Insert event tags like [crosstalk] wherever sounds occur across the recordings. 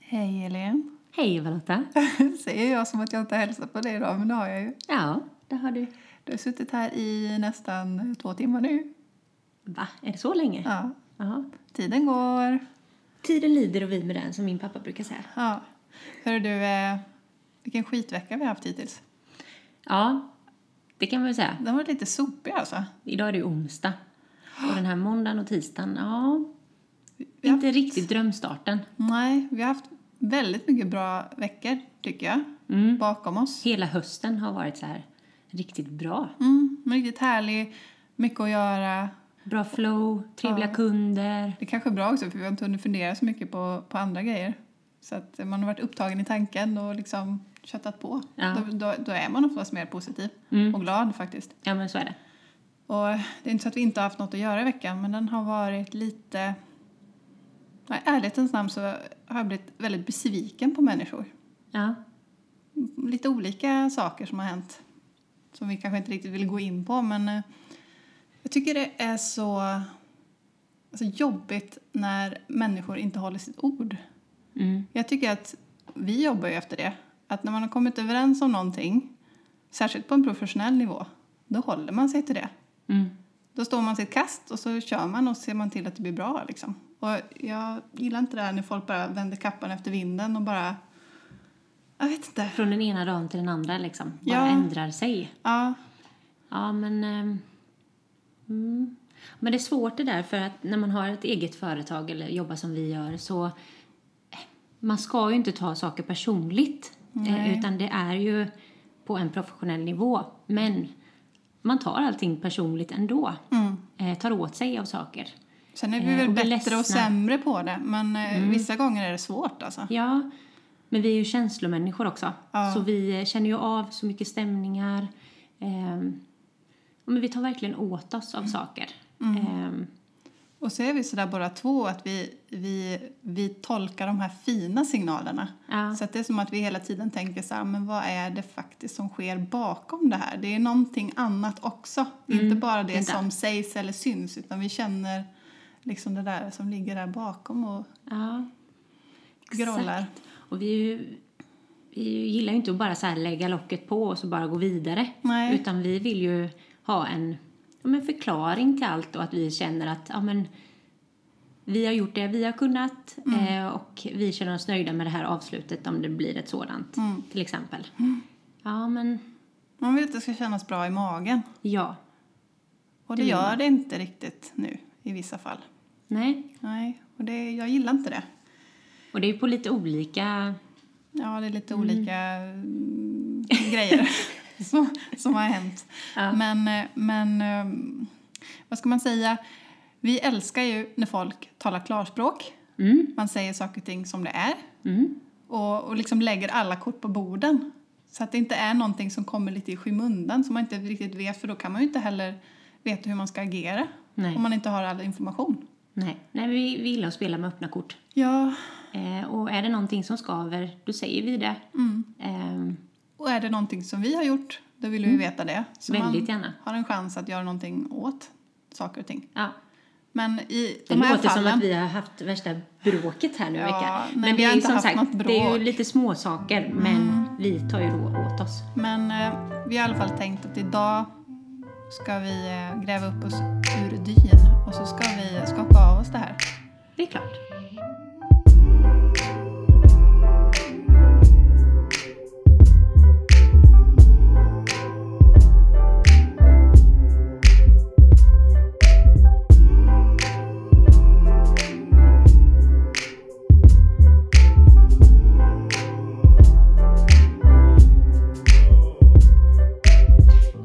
Hej Elin. [laughs] Hej Valotta. Säger jag som att jag inte hälsar på dig idag, men det har jag ju. Ja, det har du. Du har suttit här i nästan två timmar nu. Va, är det så länge? Ja, Ja. tiden går. Tiden lider och vi med den, som min pappa brukar säga. Ja. Hörru du, eh, vilken skitvecka vi har haft hittills. Ja, det kan man väl säga. Den var lite sopig alltså. Idag är det onsdag. Och den här måndagen och tisdagen, ja, Vi har inte riktigt drömstarten. Nej, vi har haft väldigt mycket bra veckor tycker jag. Bakom oss. Hela hösten har varit så här riktigt bra. Mm, men riktigt härlig, mycket att göra. Bra flow, trevliga kunder. Det är kanske är bra också för vi har inte hunnit fundera så mycket på, på andra grejer. Så att man har varit upptagen i tanken och liksom köttat på. Ja. Då, då, då är man oftast mer positiv och glad faktiskt. Ja, men så är det. Och det är inte så att vi inte har haft något att göra i veckan men den har varit lite... Ja, I ärlighetens namn så har jag blivit väldigt besviken på människor. Ja, Lite olika saker som har hänt som vi kanske inte riktigt vill gå in på men eh, jag tycker det är så alltså, jobbigt när människor inte håller sitt ord. mm. Jag tycker att vi jobbar ju efter det. Att när man har kommit överens om någonting, särskilt på en professionell nivå, då håller man sig till det. Mm. Då står man sitt kast och så kör man och ser man till att det blir bra. Liksom. Och jag gillar inte det här när folk bara vänder kappan efter vinden och bara... Jag vet inte. från den ena dagen till den andra liksom. Bara Ja. ändrar sig. Ja, Ja, men... ehm, mm. Men det är svårt det där, för att när man har ett eget företag eller jobbar som vi gör så... eh, Man ska ju inte ta saker personligt, eh, utan det är ju på en professionell nivå. Men man tar allting personligt ändå. Eh, Tar åt sig av saker. sen är vi Eh, väl och blir bättre och ledsna. Mm. sämre på det. Men eh, vissa gånger är det svårt alltså. Ja, men vi är ju känslomänniskor också. Så vi eh, känner ju av så mycket stämningar. Ehm, men vi tar verkligen åt oss av saker. Ehm, Och så är vi sådär båda två att vi, vi, vi tolkar de här fina signalerna. Ja. Så att det är som att vi hela tiden tänker så här, men vad är det faktiskt som sker bakom det här? Det är någonting annat också. Inte Mm. bara det inte. som sägs eller syns utan vi känner liksom det där som ligger där bakom och ja, grålar. exakt. Och vi, är ju, vi gillar ju inte att bara så här lägga locket på och så bara gå vidare. Nej. Utan vi vill ju ha en, ja, men förklaring till allt och att vi känner att ja, men, vi har gjort det vi har kunnat eh, och vi känner oss nöjda med det här avslutet om det blir ett sådant till exempel. Ja, men Man vill att det ska kännas bra i magen. ja. Och Mm. det gör det inte riktigt nu i vissa fall. Nej. Nej, och det, jag gillar inte det. Och det är ju på lite olika... Ja, det är lite olika mm, grejer som, som har hänt. Men, eh, men eh, vad ska man säga? Vi älskar ju när folk talar klarspråk. Man säger saker och ting som det är Mm. och, och liksom lägger alla kort på borden. Så att det inte är någonting som kommer lite i skymundan som man inte riktigt vet för då kan man ju inte heller veta hur man ska agera Nej. om man inte har all information. Nej. Nej, men vi, vi gillar att spela med öppna kort. Ja, Eh, och är det någonting som skaver, då säger vi det. Mm. Ehm, Och är det någonting som vi har gjort, då vill vi veta det. Så Mm. Väldigt man gärna. har en chans att göra någonting åt saker och ting. ja. Men i Det de här låter fallen... som att vi har haft värsta bråket här nu i Ja, veckan. nej, vi har det är ju inte som haft sagt, något det är ju bråk. Mm. lite småsaker, men vi tar ju då åt oss. Men eh, vi har i alla fall tänkt att idag ska vi eh, gräva upp oss ur dyn och så ska vi skaka av oss det här. Det är klart.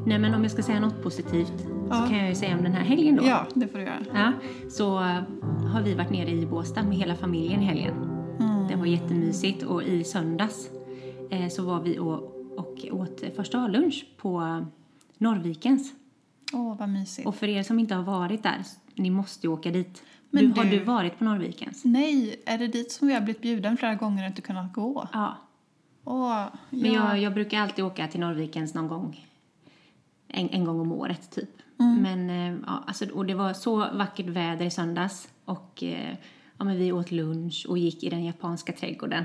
Nej, men om jag ska säga något positivt Ja. så kan jag ju säga om den här helgen då. Ja, det får du göra. Ja, så eh, har vi varit nere i Båstad med hela familjen i helgen. Mm. Det var jättemysigt och i söndags eh, så var vi och, och åt första A-lunch på Norrvikens. Åh, vad mysigt. Och för er som inte har varit där, s- ni måste ju åka dit. Men du, Har du- Mm. du varit på Norrvikens? Nej, är det dit som vi har blivit bjuden flera gånger och inte kunnat gå? Ja, Åh, men ja. jag, jag brukar alltid åka till Norrvikens någon gång. En, en gång om året typ. Men, eh, ja, alltså, och det var så vackert väder i söndags och eh, ja, men vi åt lunch och gick i den japanska trädgården.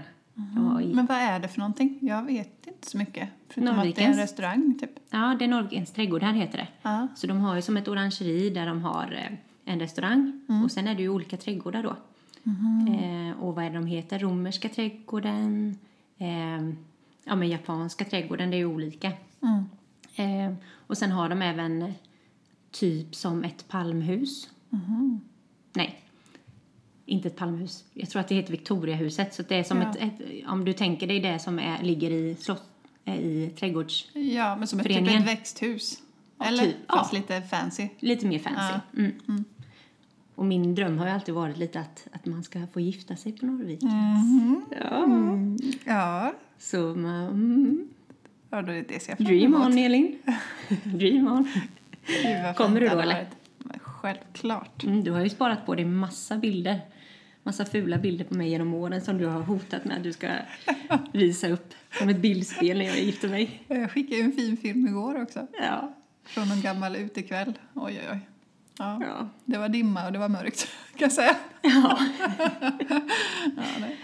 Och gick- Men vad är det för någonting? Jag vet inte så mycket. Förutom att det är en Norrvikens. restaurang, typ. Ja, det är Norrgrens trädgård här heter det. Ja. Så de har ju som ett orangeri där de har eh, en restaurang Mm. och sen är det ju olika trädgårdar då. Mm-hmm. Eh, och vad är det de heter? Romerska trädgården, eh, ja men japanska trädgården, det är ju olika. Mm. Eh, och sen har de även typ som ett palmhus. Mm-hmm. Nej, inte ett palmhus. Jag tror att det heter Victoriahuset. Så att det är som Ja. ett, ett, om du tänker dig det som är, ligger i, slott, eh, i trädgårds... Ja, men som ett, typ Föreningen. ett växthus. Ja, Eller? typ, ja. Fast lite fancy. Lite mer fancy. Mm. Och min dröm har ju alltid varit lite att, att man ska få gifta sig på Norrvik. Ja. Mm. Ja. Så man, mm. ja då är det ser jag fram Dream emot. on, Elin. [laughs] Dream on. Gud, vad Kommer fint du det då, hade eller? varit. Men Självklart. Mm, du har ju sparat på dig massa bilder. Massa fula bilder på mig genom åren som du har hotat med att [laughs] du ska visa upp som ett bildspel när jag gifter mig. Jag skickade ju en fin film igår också. Ja. Från någon gammal utekväll. Oj, oj, oj. Ja. Ja. Det var dimma och det var mörkt, [laughs] kan jag säga. ja. [laughs] Ja, nej.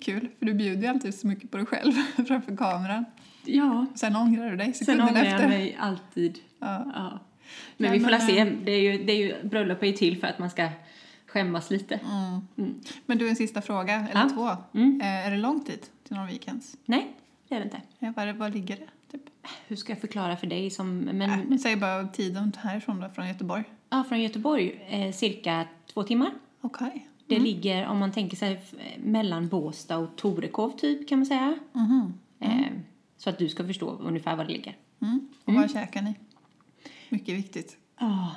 Kul, för du bjuder ju alltid så mycket på dig själv [laughs] framför kameran. ja. Sen ångrar du dig Sen sekunden ångrar efter. jag mig alltid. Ja. Ja. Nej, Men vi får men, eh, la se. Det är ju, det är ju, bröllop är ju till för att man ska skämmas lite. Mm. Men du, en sista fråga, eller Ja. två. Mm. Eh, är det långt dit till Norrvikens? Nej, det är det inte. Eh, Var, var ligger det? Typ? Hur ska jag förklara för dig som... Men, Men, äh, säg bara tiden härifrån då, från Göteborg. ja, från Göteborg, eh, cirka två timmar. Okej. Det Mm. ligger, om man tänker sig, f- eh, mellan Båstad och Torekov typ kan man säga. Mhm. Eh, så att du ska förstå ungefär var det ligger. Mm. Och vad käkar ni? Mycket viktigt. Ja,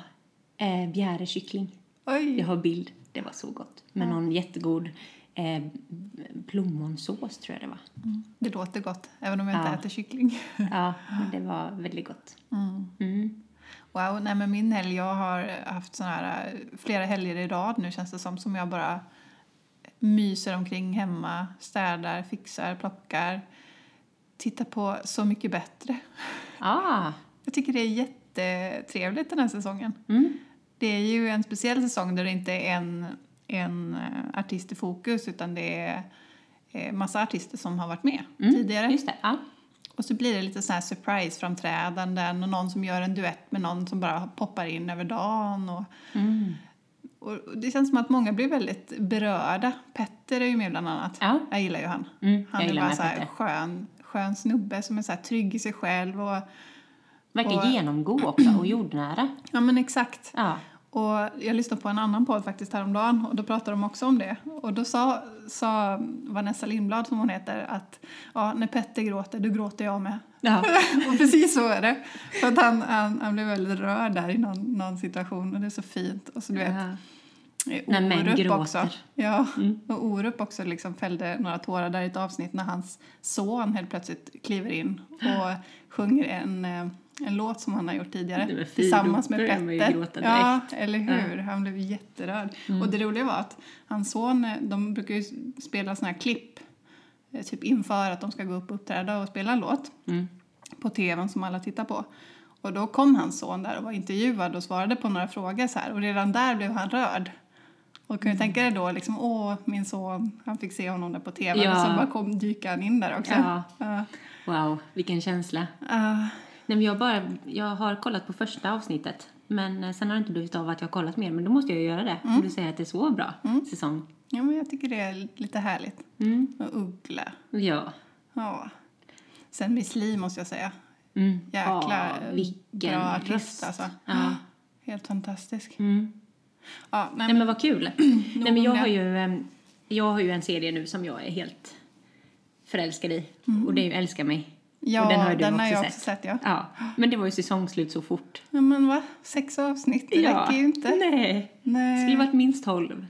eh, bjärekyckling. Oj! Jag har bild. Det var så gott. Med någon jättegod eh, plommonsås tror [laughs] jag det var. Mm. Det låter gott, även om jag inte Ja. äter kyckling. [laughs] Ja, men det var väldigt gott. Mm. Mm. Wow, nej men min helg, jag har haft såna här eh, flera helger i rad nu känns det som, som jag bara myser omkring hemma, städar, fixar, plockar, tittar på Så mycket bättre. Ah, Jag tycker det är jättetrevligt den här säsongen. mm. Det är ju en speciell säsong där det inte är en, en eh, artist i fokus utan det är eh, massa artister som har varit med Mm. tidigare. Just det. Ja. Och så blir det lite så här surprise-framträdanden och någon som gör en duett med någon som bara poppar in över dagen. Och, Mm. och det känns som att många blir väldigt berörda. Petter är ju med bland annat. Ja. Jag gillar ju han. Mm. Han jag är gillar bara med så här Petter. skön, skön snubbe som är så här trygg i sig själv. Och, Verkar och- genomgå också och jordnära. ja men exakt. Ja. Och jag lyssnade på en annan podd faktiskt häromdagen och då pratade de också om det. Och då sa, sa Vanessa Lindblad, som hon heter, att ja, när Petter gråter, då gråter jag med. [laughs] Ja. och precis så är det. För att han, han, han blev väldigt rörd där i någon, någon situation och det är så fint. Och så du vet, Ja. eh, När män Orup gråter. Mm. också. Ja, och Orup också liksom fällde några tårar där i ett avsnitt när hans son helt plötsligt kliver in och sjunger en, eh, en låt som han har gjort tidigare Det var fint. tillsammans Då med börjar man ju Petter. gråta Mm. ja, eller hur? Han blev jätterörd. Och det roliga var att hans son, eh, de brukar ju spela såna här klipp eh, typ inför att de ska gå upp och uppträda och spela en låt Mm. på tvn som alla tittar på. Och då kom hans son där och var intervjuad och svarade på några frågor så här och redan där blev han rörd. Och Mm. kan du tänka dig då liksom, åh min son, han fick se honom där på tvn Ja. och sen bara kom, dyker han in där också. Ja. Ja. Wow, vilken känsla. Ah, Nej, men jag, bara, jag har kollat på första avsnittet, men eh, sen har det inte blivit av att jag har kollat mer. Men då måste jag ju göra det, Mm. om du säger att det är så bra säsong. ja men jag tycker det är lite härligt. Mm. Och Uggla, Ja. ja. Sen Miss Li måste jag säga, Mm. jäkla Ja, eh, vilken bra röst. artist alltså. Ja. Helt fantastisk. Mm. Ja, nej, Nej men [clears throat] vad kul. Nej, men jag, om det. har ju, em, jag har ju en serie nu som jag är helt förälskad i. Och det är ju Älska mig. Mm. ja, och den den har, har ju du också jag sett. också sett ja. Ja, men det var ju säsongslut så fort. ja. Men va, sex avsnitt, det ja. räcker ju inte. Nej. Det Nej. skulle varit [gasps] minst 12.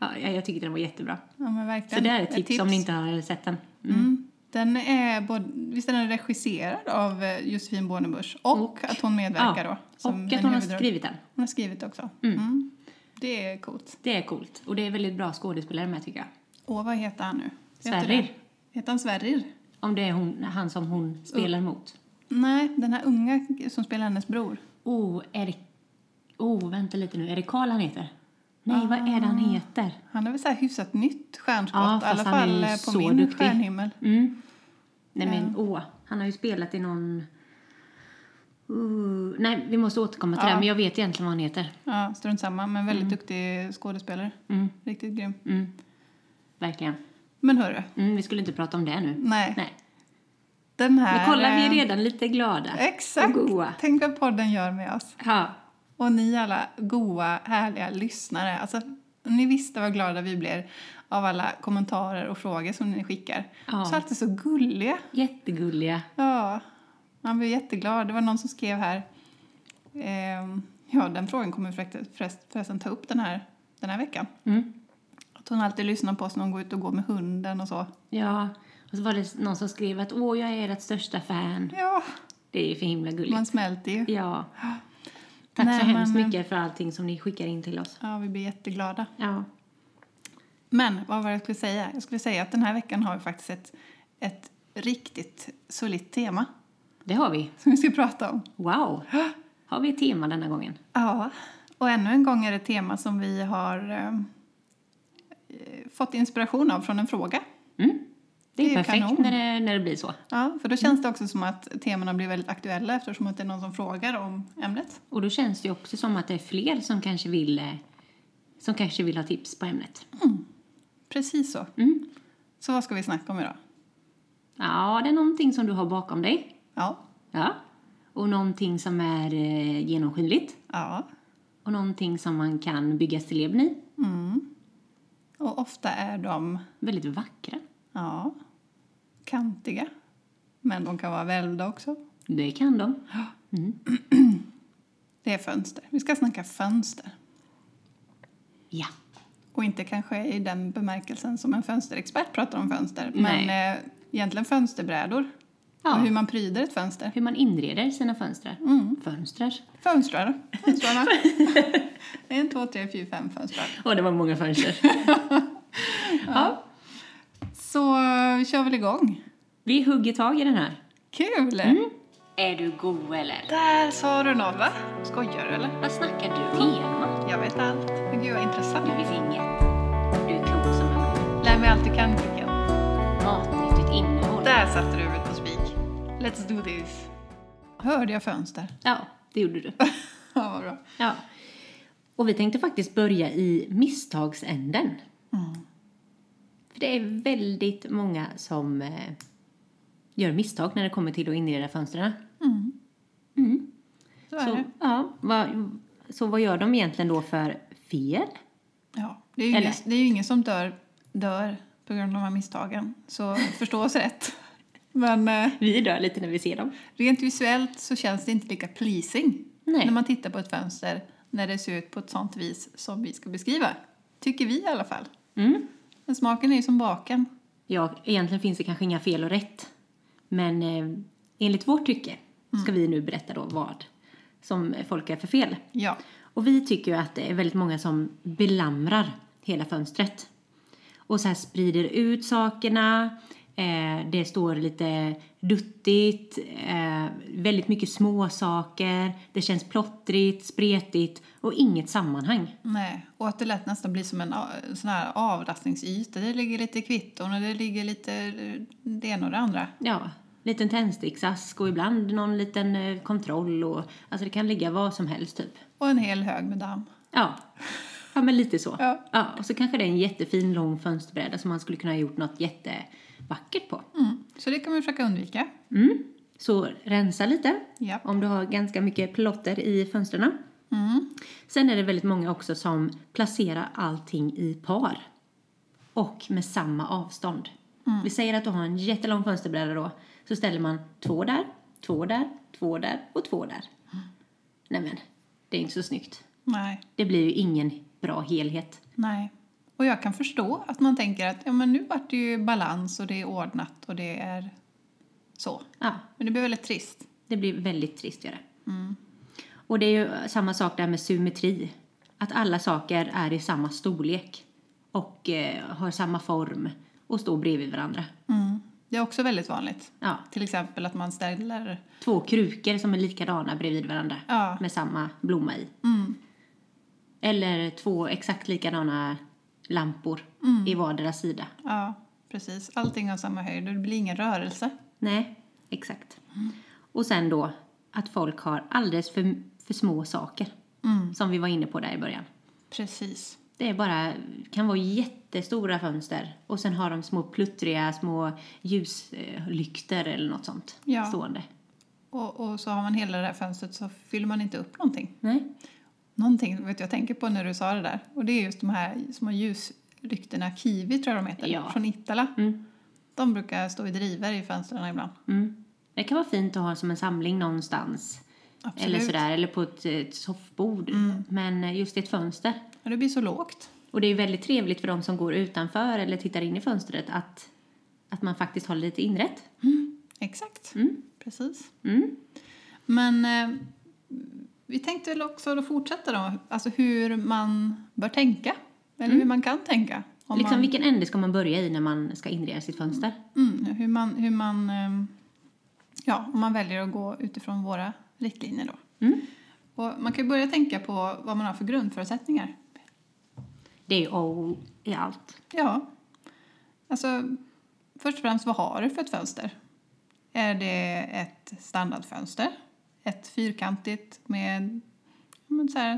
Ja, jag jag tyckte den var jättebra. Ja, men Så verkligen. det här är Ett ett tips, om ni inte har sett den. Mm. Mm. Den är både, visst är den regisserad av eh, Josefin Bornebusch och, att hon medverkar Ja, då? och en att hon har huvudroll. skrivit den. Hon har skrivit också. Mm. Det är coolt. Det är coolt. Och det är väldigt bra skådespelare med tycker jag. Och vad heter han nu? Vet du Sverrir. det? Heter han Sverrir? Om det är hon, han som Oh. hon spelar mot. Nej, den här unga som spelar hennes bror. Oh, Erik... Oh, vänta lite nu. Är det Karl han heter? Nej, vad är det han Ah. heter? Han är väl så här hyfsat nytt stjärnskott, Ja, i fast alla han är fall ju eh, på så min duktig. stjärnhimmel. Mm. Nej men åh, han har ju spelat i någon... Uh, nej, vi måste återkomma till det, här, men jag vet egentligen vad han heter. Ja, strunt samma, men väldigt duktig skådespelare. Riktigt grym. Mm. Verkligen. Men hörru, Mm, vi skulle inte prata om det nu. nej. Nej. Den här... Men kolla, eh, vi är redan lite glada. Exakt! och goa. Tänk vad podden gör med oss. Ja. Och ni alla goa, härliga lyssnare. Alltså, om ni visste vad glada vi blir av alla kommentarer och frågor som ni skickar. Ja. Så alltid så gulliga. Jättegulliga. Ja, man blir jätteglad. Det var någon som skrev här. ehm, ja, den frågan kommer vi förrekt- förrest- förresten ta upp den här, den här veckan. Mm. Att hon alltid lyssnar på oss när hon går ut och går med hunden och så. Ja. Och så var det någon som skrev att åh, jag är ert största fan. Ja, Det är ju för himla gulligt. man smälter ju. Ja. Tack Mm. Nej, så hemskt men- eh, mycket för allting som ni skickar in till oss. Ja, vi blir jätteglada. Ja. Men vad var det jag skulle säga? Jag skulle säga att den här veckan har vi faktiskt ett, ett riktigt solitt tema [laughs] Det har vi. som vi ska prata om. Wow! Har vi ett tema denna gången? Ja, och ännu en gång är det ett tema som vi har ehm, eh, fått inspiration av från en fråga. Mm. Det Det är är perfekt kanon. när det, när det blir så. Ja, för då känns det också som att temana blir väldigt aktuella eftersom att det är någon som frågar om ämnet. Och då känns det ju också som att det är fler som kanske vill, eh, som kanske vill ha tips på ämnet. Precis så. Mm. Så vad ska vi snacka om idag? Ja, det är någonting som du har bakom dig. Ja, Ja. Och någonting som är eh, genomskinligt. ja. Och någonting som man kan bygga stilleben i. Mm. Och ofta är de Väldigt vackra. ja, kantiga, men de kan vara välvda också. Det kan de. Det är fönster. Vi ska snacka fönster. Ja. Och inte kanske i den bemärkelsen som en fönsterexpert pratar om fönster, men Nej. eh, egentligen fönsterbrädor och ja. hur man pryder ett fönster. Hur man inreder sina fönster. Fönster. Fönstrar. [laughs] Fönstrarna. en, två, tre, fyra, fem fönstrar. Åh, det var många fönster. ja. Så eh, vi kör väl igång. Vi hugger tag i den här. Kul! Mm. Är du god eller? Där sa du något, va? Skojar du eller? Vad snackar du om? Tema? Jag vet allt. Men gud vad intressant. Du vet inget. Du är klok som en man. Lär mig allt du kan, Kicken. Matnyttigt innehåll. Där satte du huvudet på spik. Let's do this. Hörde jag fönster? Ja, det gjorde du. Ja, vad bra. Ja. Och vi tänkte faktiskt börja i misstagsänden. Mm. För det är väldigt många som eh, gör misstag när det kommer till att inreda fönstren. Så är Så, det. ja, vad, så vad gör de egentligen då för fel? Ja, det är ju, Eller? ingen, det är ju ingen som dör, dör på grund av de här misstagen, så förstå oss rätt. Men eh, Vi dör lite när vi ser dem. rent visuellt så känns det inte lika pleasing Nej. när man tittar på ett fönster när det ser ut på ett sånt vis som vi ska beskriva. Tycker vi i alla fall. Mm. Men smaken är ju som baken. Ja, egentligen finns det kanske inga fel och rätt. Men eh, enligt vårt tycke ska vi nu berätta då vad som eh, folk är för fel. Ja. Och vi tycker ju att det är väldigt många som belamrar hela fönstret. Och så här sprider ut sakerna. Eh, det står lite duttigt. Eh, väldigt mycket små saker. Det känns plottrigt, spretigt och inget sammanhang. Nej, och att det lätt nästan blir som en a- sån här avlastningsyta. Det ligger lite kvitton och det ligger lite eh, det ena och det andra. Ja, liten tändsticksask och ibland någon liten eh, kontroll. Och, alltså det kan ligga vad som helst typ. Och en hel hög med damm. Ja, ja men lite så. Ja. och så kanske det är en jättefin lång fönsterbräda som man skulle kunna ha gjort något jättevackert på. Mm. Så det kan man försöka undvika. Mm. Så rensa lite Ja. om du har ganska mycket plotter i fönstren. Mm. Sen är det väldigt många också som placerar allting i par och med samma avstånd. Vi säger att du har en jättelång fönsterbräda då, så ställer man två där, två där, två där och två där. Nämen, det är inte så snyggt. Nej. Det blir ju ingen bra helhet. Nej. Och jag kan förstå att man tänker att ja, men nu vart det ju balans och det är ordnat och det är så. Ja, Men det blir väldigt trist. Det blir väldigt trist gör det. Och det är ju samma sak där med symmetri. Att alla saker är i samma storlek och eh, har samma form och står bredvid varandra. Mm. Det är också väldigt vanligt. Ja, Till exempel att man ställer... två krukor som är likadana bredvid varandra Ja. med samma blomma i. Eller två exakt likadana lampor i vardera sida. Ja, precis. Allting har samma höjd och det blir ingen rörelse. Nej, exakt. Och sen då att folk har alldeles för, för små saker. Som vi var inne på där i början. Precis. Det är bara, kan vara jättestora fönster och sen har de små pluttriga små ljuslykter eller något sånt Ja. stående. Och, och så har man hela det här fönstret så fyller man inte upp någonting. Nej? Någonting vet jag tänker på när du sa det där. Och det är just de här små ljuslyktorna, kiwi tror jag de heter, Ja. från Ittala. Mm. De brukar stå i driver i fönstren ibland. Mm. Det kan vara fint att ha som en samling någonstans. Absolut. Mm. Eller sådär, eller på ett, ett soffbord. Men just i ett fönster. Men det blir så lågt. Och det är ju väldigt trevligt för de som går utanför eller tittar in i fönstret att, att man faktiskt har lite inrätt. Exakt. Mm. Precis. Mm. Men eh, vi tänkte väl också då fortsätta då, alltså hur man bör tänka. Eller hur man kan tänka. Om Mm. Liksom man, vilken ände ska man börja i när man ska inreda sitt fönster? mm, hur man, hur man, ehm, ja, om man väljer att gå utifrån våra riktlinjer då. Mm. Och man kan ju börja tänka på vad man har för grundförutsättningar. Det är ju A och O i allt. Ja. Alltså, först och främst, vad har du för ett fönster? Är det ett standardfönster? Ett fyrkantigt med, ja, men så här,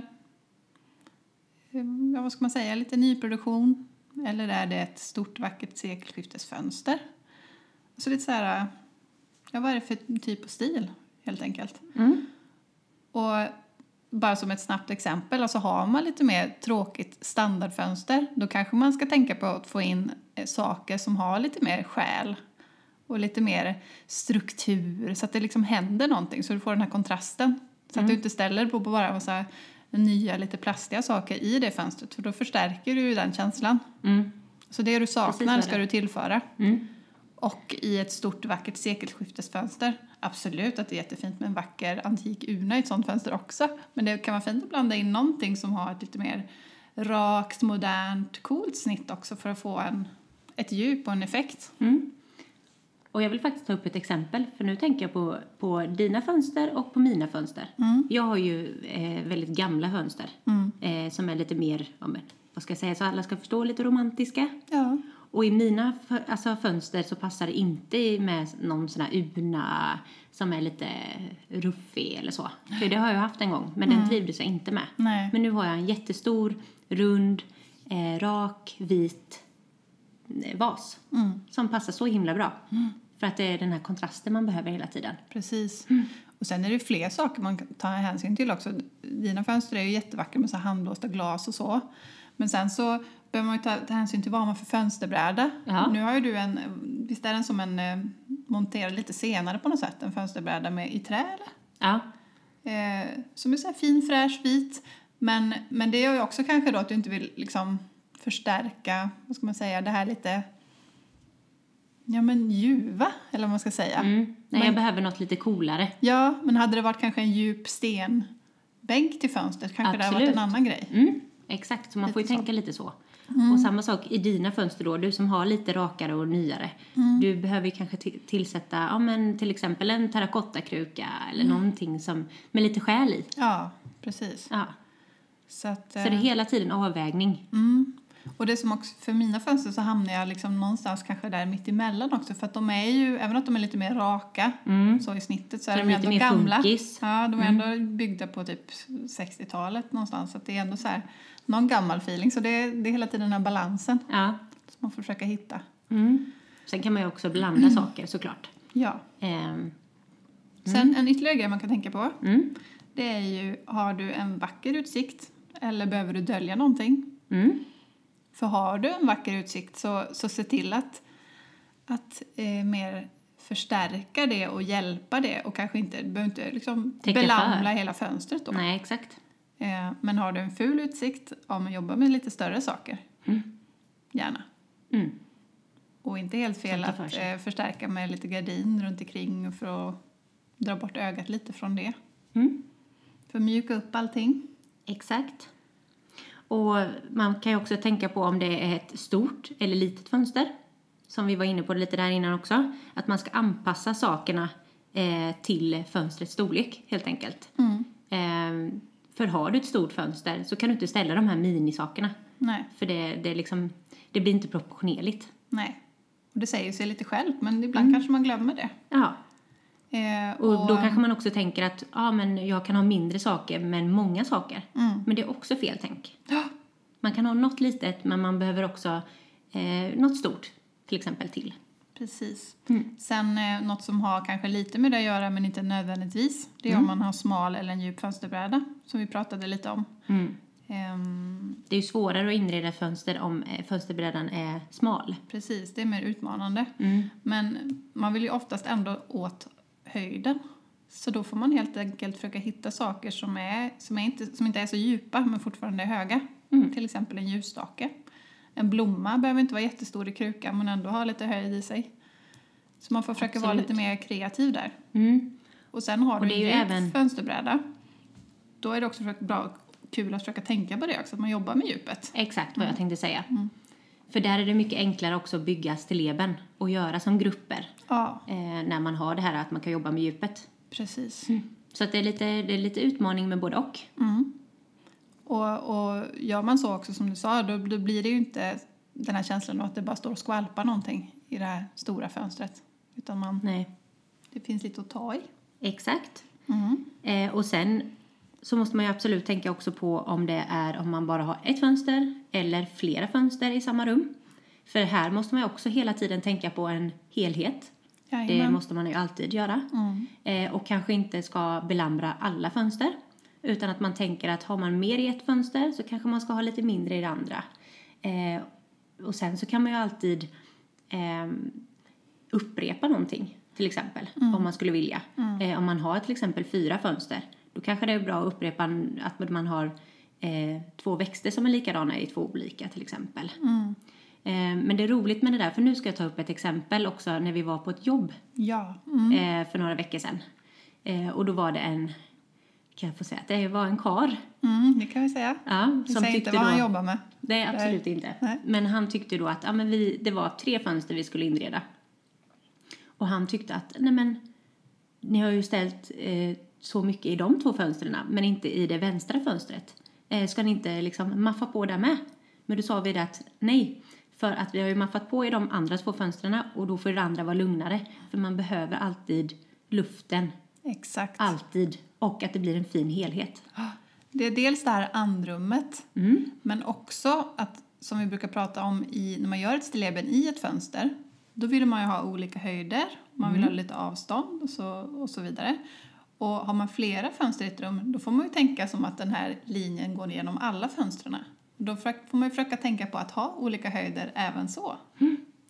eh, ja, vad ska man säga, lite nyproduktion? Eller är det ett stort vackert sekelskiftesfönster? Så lite så här, eh, ja, vad är det för typ och stil helt enkelt? Mm. Och bara som ett snabbt exempel, alltså har man lite mer tråkigt standardfönster då kanske man ska tänka på att få in eh, saker som har lite mer själ och lite mer struktur så att det liksom händer någonting så du får den här kontrasten. Så att du inte ställer på på bara massa nya lite plastiga saker i det fönstret för då förstärker du ju den känslan. Mm. Så det du Precis vad saknar det ska du tillföra. Mm. Och i ett stort vackert sekelskiftesfönster, absolut att det är jättefint med en vacker antik urna i ett sånt fönster också. Men det kan vara fint att blanda in någonting som har ett lite mer rakt, modernt, coolt snitt också för att få en, ett djup och en effekt. Mm. Och jag vill faktiskt ta upp ett exempel, för nu tänker jag på, på dina fönster och på mina fönster. Jag har ju eh, väldigt gamla fönster eh, som är lite mer, ja, men, vad ska jag säga, så alla ska förstå, lite romantiska. Ja. Och i mina fö- alltså, fönster så passar det inte med någon sån här urna som är lite ruffig eller så. För det har jag haft en gång, men den trivdes jag inte med. Nej. Men nu har jag en jättestor, rund, eh, rak, vit eh, vas som passar så himla bra. För att det är den här kontrasten man behöver hela tiden. Precis. Mm. Och sen är det fler saker man kan ta hänsyn till också. Dina fönster är ju jättevackra med så här handblåsta glas och så. Men sen så behöver man ju ta, ta hänsyn till vad man har för fönsterbräda. Ja. Nu har ju du en, visst är den som en eh, monterad lite senare på något sätt, en fönsterbräda med, i trä eller? Ja, Eh, som är så här fin, fräsch, vit. Men, men det gör ju också kanske då att du inte vill liksom förstärka, vad ska man säga, det här lite, ja men ljuva eller vad man ska säga. mm. Nej, jag behöver något lite coolare. Ja, men hade det varit kanske en djup stenbänk till fönstret kanske det hade varit Absolut. en annan grej. Mm, exakt, så man får Lite ju så. Mm. tänka lite så. Och samma sak i dina fönster då, du som har lite rakare och nyare. Mm. Du behöver ju kanske ti- tillsätta, ja men till exempel en terrakottakruka eller Mm. någonting som, med lite själ i. Ja, precis. Ja. Så att, Så det är eh, hela tiden avvägning. mm. Och det som också, för mina fönster så hamnar jag liksom någonstans kanske där mitt emellan också för att de är ju, även att de är lite mer raka Mm. så i snittet så Så är de de är lite ändå mer gamla. funkis. Mm. Ja, de är ändå byggda på typ 60-talet någonstans så att det är ändå så här någon gammal feeling så det är, det är hela tiden den här balansen Ja. som man får försöka hitta. Mm. Sen kan man ju också [clears throat] blanda saker såklart. Ja. Ehm, Sen en ytterligare grej man kan tänka på mm. Det är ju, har du en vacker utsikt eller behöver du dölja någonting? Mm. För har du en vacker utsikt så, så se till att, att eh, mer förstärka det och hjälpa det och kanske inte, du behöver inte liksom Täcka belamla för. hela fönstret då. Nej, exakt. Eh, men har du en ful utsikt, ja men jobba med lite större saker. Gärna. Mm. Och inte helt fel Tänka för att sig. eh, förstärka med lite gardin runt omkring för att dra bort ögat lite från det. Mm. För att mjuka upp allting. Exakt. Och man kan ju också tänka på om det är ett stort eller litet fönster. Som vi var inne på lite där innan också. Att man ska anpassa Mm. sakerna eh, till fönstrets storlek helt enkelt. Eh, För har du ett stort fönster så kan du inte ställa de här minisakerna. Nej. För det, det, är liksom, det blir inte proportionerligt. Nej. Och det säger sig lite självt, men ibland kanske man glömmer det. Ja. Eh, Mm. Och då kanske man också tänker att ja, men jag kan ha mindre saker men många saker. Mm. Men det är också fel tänk. Ja, Man kan ha något litet men man behöver också eh, något stort till exempel till. precis. Mm. Sen eh, något som har kanske lite med det att göra, men inte nödvändigtvis, det är om Mm. man har smal eller en djup fönsterbräda, som vi pratade lite om. Mm. Ehm, Det är ju svårare att inreda ett fönster om eh, fönsterbrädan är smal. precis, det är mer utmanande. Men man vill ju oftast ändå åt höjden. Så då får man helt enkelt försöka hitta saker som, är, som, är inte, som inte är så djupa men fortfarande är höga. Mm. Till exempel en ljusstake. En blomma behöver inte vara jättestor i krukan men ändå ha lite höjd i sig. Så man får försöka vara Absolut. lite mer kreativ där. Mm. Och sen har Och du det en är ju djup även- fönsterbräda. Då är det också försöka- bra kul att försöka tänka på det också, att man jobbar med djupet. Exakt vad jag tänkte säga. För där är det mycket enklare också att bygga stilleben och göra som grupper Ja, eh, när man har det här att man kan jobba med djupet. precis. Så att det, är lite, det är lite utmaning med både och. Mm. Och, och gör man så också som du sa, då, då blir det ju inte den här känslan av att det bara står och skvalpar någonting i det här stora fönstret. Utan man, Nej. det finns lite att ta i. Exakt. Mm. Eh, och sen så måste man ju absolut tänka också på om det är om man bara har ett fönster eller flera fönster i samma rum. För här måste man ju också hela tiden tänka på en helhet. Det Jajamän. måste man ju alltid göra. Mm. Eh, och kanske inte ska belambra alla fönster. Utan att man tänker att har man mer i ett fönster så kanske man ska ha lite mindre i det andra. Eh, och sen så kan man ju alltid ehm, upprepa någonting till exempel. Om man skulle vilja. Eh, om man har till exempel fyra fönster. Då kanske det är bra att upprepa n- att man har eh, två växter som är likadana i två olika till exempel. Mm. Eh, men det är roligt med det där för nu ska jag ta upp ett exempel också när vi var på ett jobb Ja. Mm. eh, för några veckor sedan. Eh, och då var det en, kan jag få säga att det var en kar. Mm, det kan vi säga. Ja, Vi som säger tyckte inte vad han då, jobbar med. nej, absolut inte. Nej. Men han tyckte då att ja, men vi, det var tre fönster vi skulle inreda. Och han tyckte att, nej men, ni har ju ställt eh, så mycket i de två fönstren, men inte i det vänstra fönstret. Eh, ska ni inte liksom maffa på där med? Men då sa vi det att nej, för att vi har ju maffat på i de andra två fönstren och då får det andra vara lugnare. För man behöver alltid luften, Exakt. alltid. Och att det blir en fin helhet. Det är dels det här andrummet, Mm. men också att, som vi brukar prata om i, när man gör ett stilleben i ett fönster, då vill man ju ha olika höjder, man vill ha lite avstånd och så, och så vidare. Och har man flera fönster i ett rum, då får man ju tänka som att den här linjen går genom alla fönstren. Då försö- får man ju försöka tänka på att ha olika höjder även så.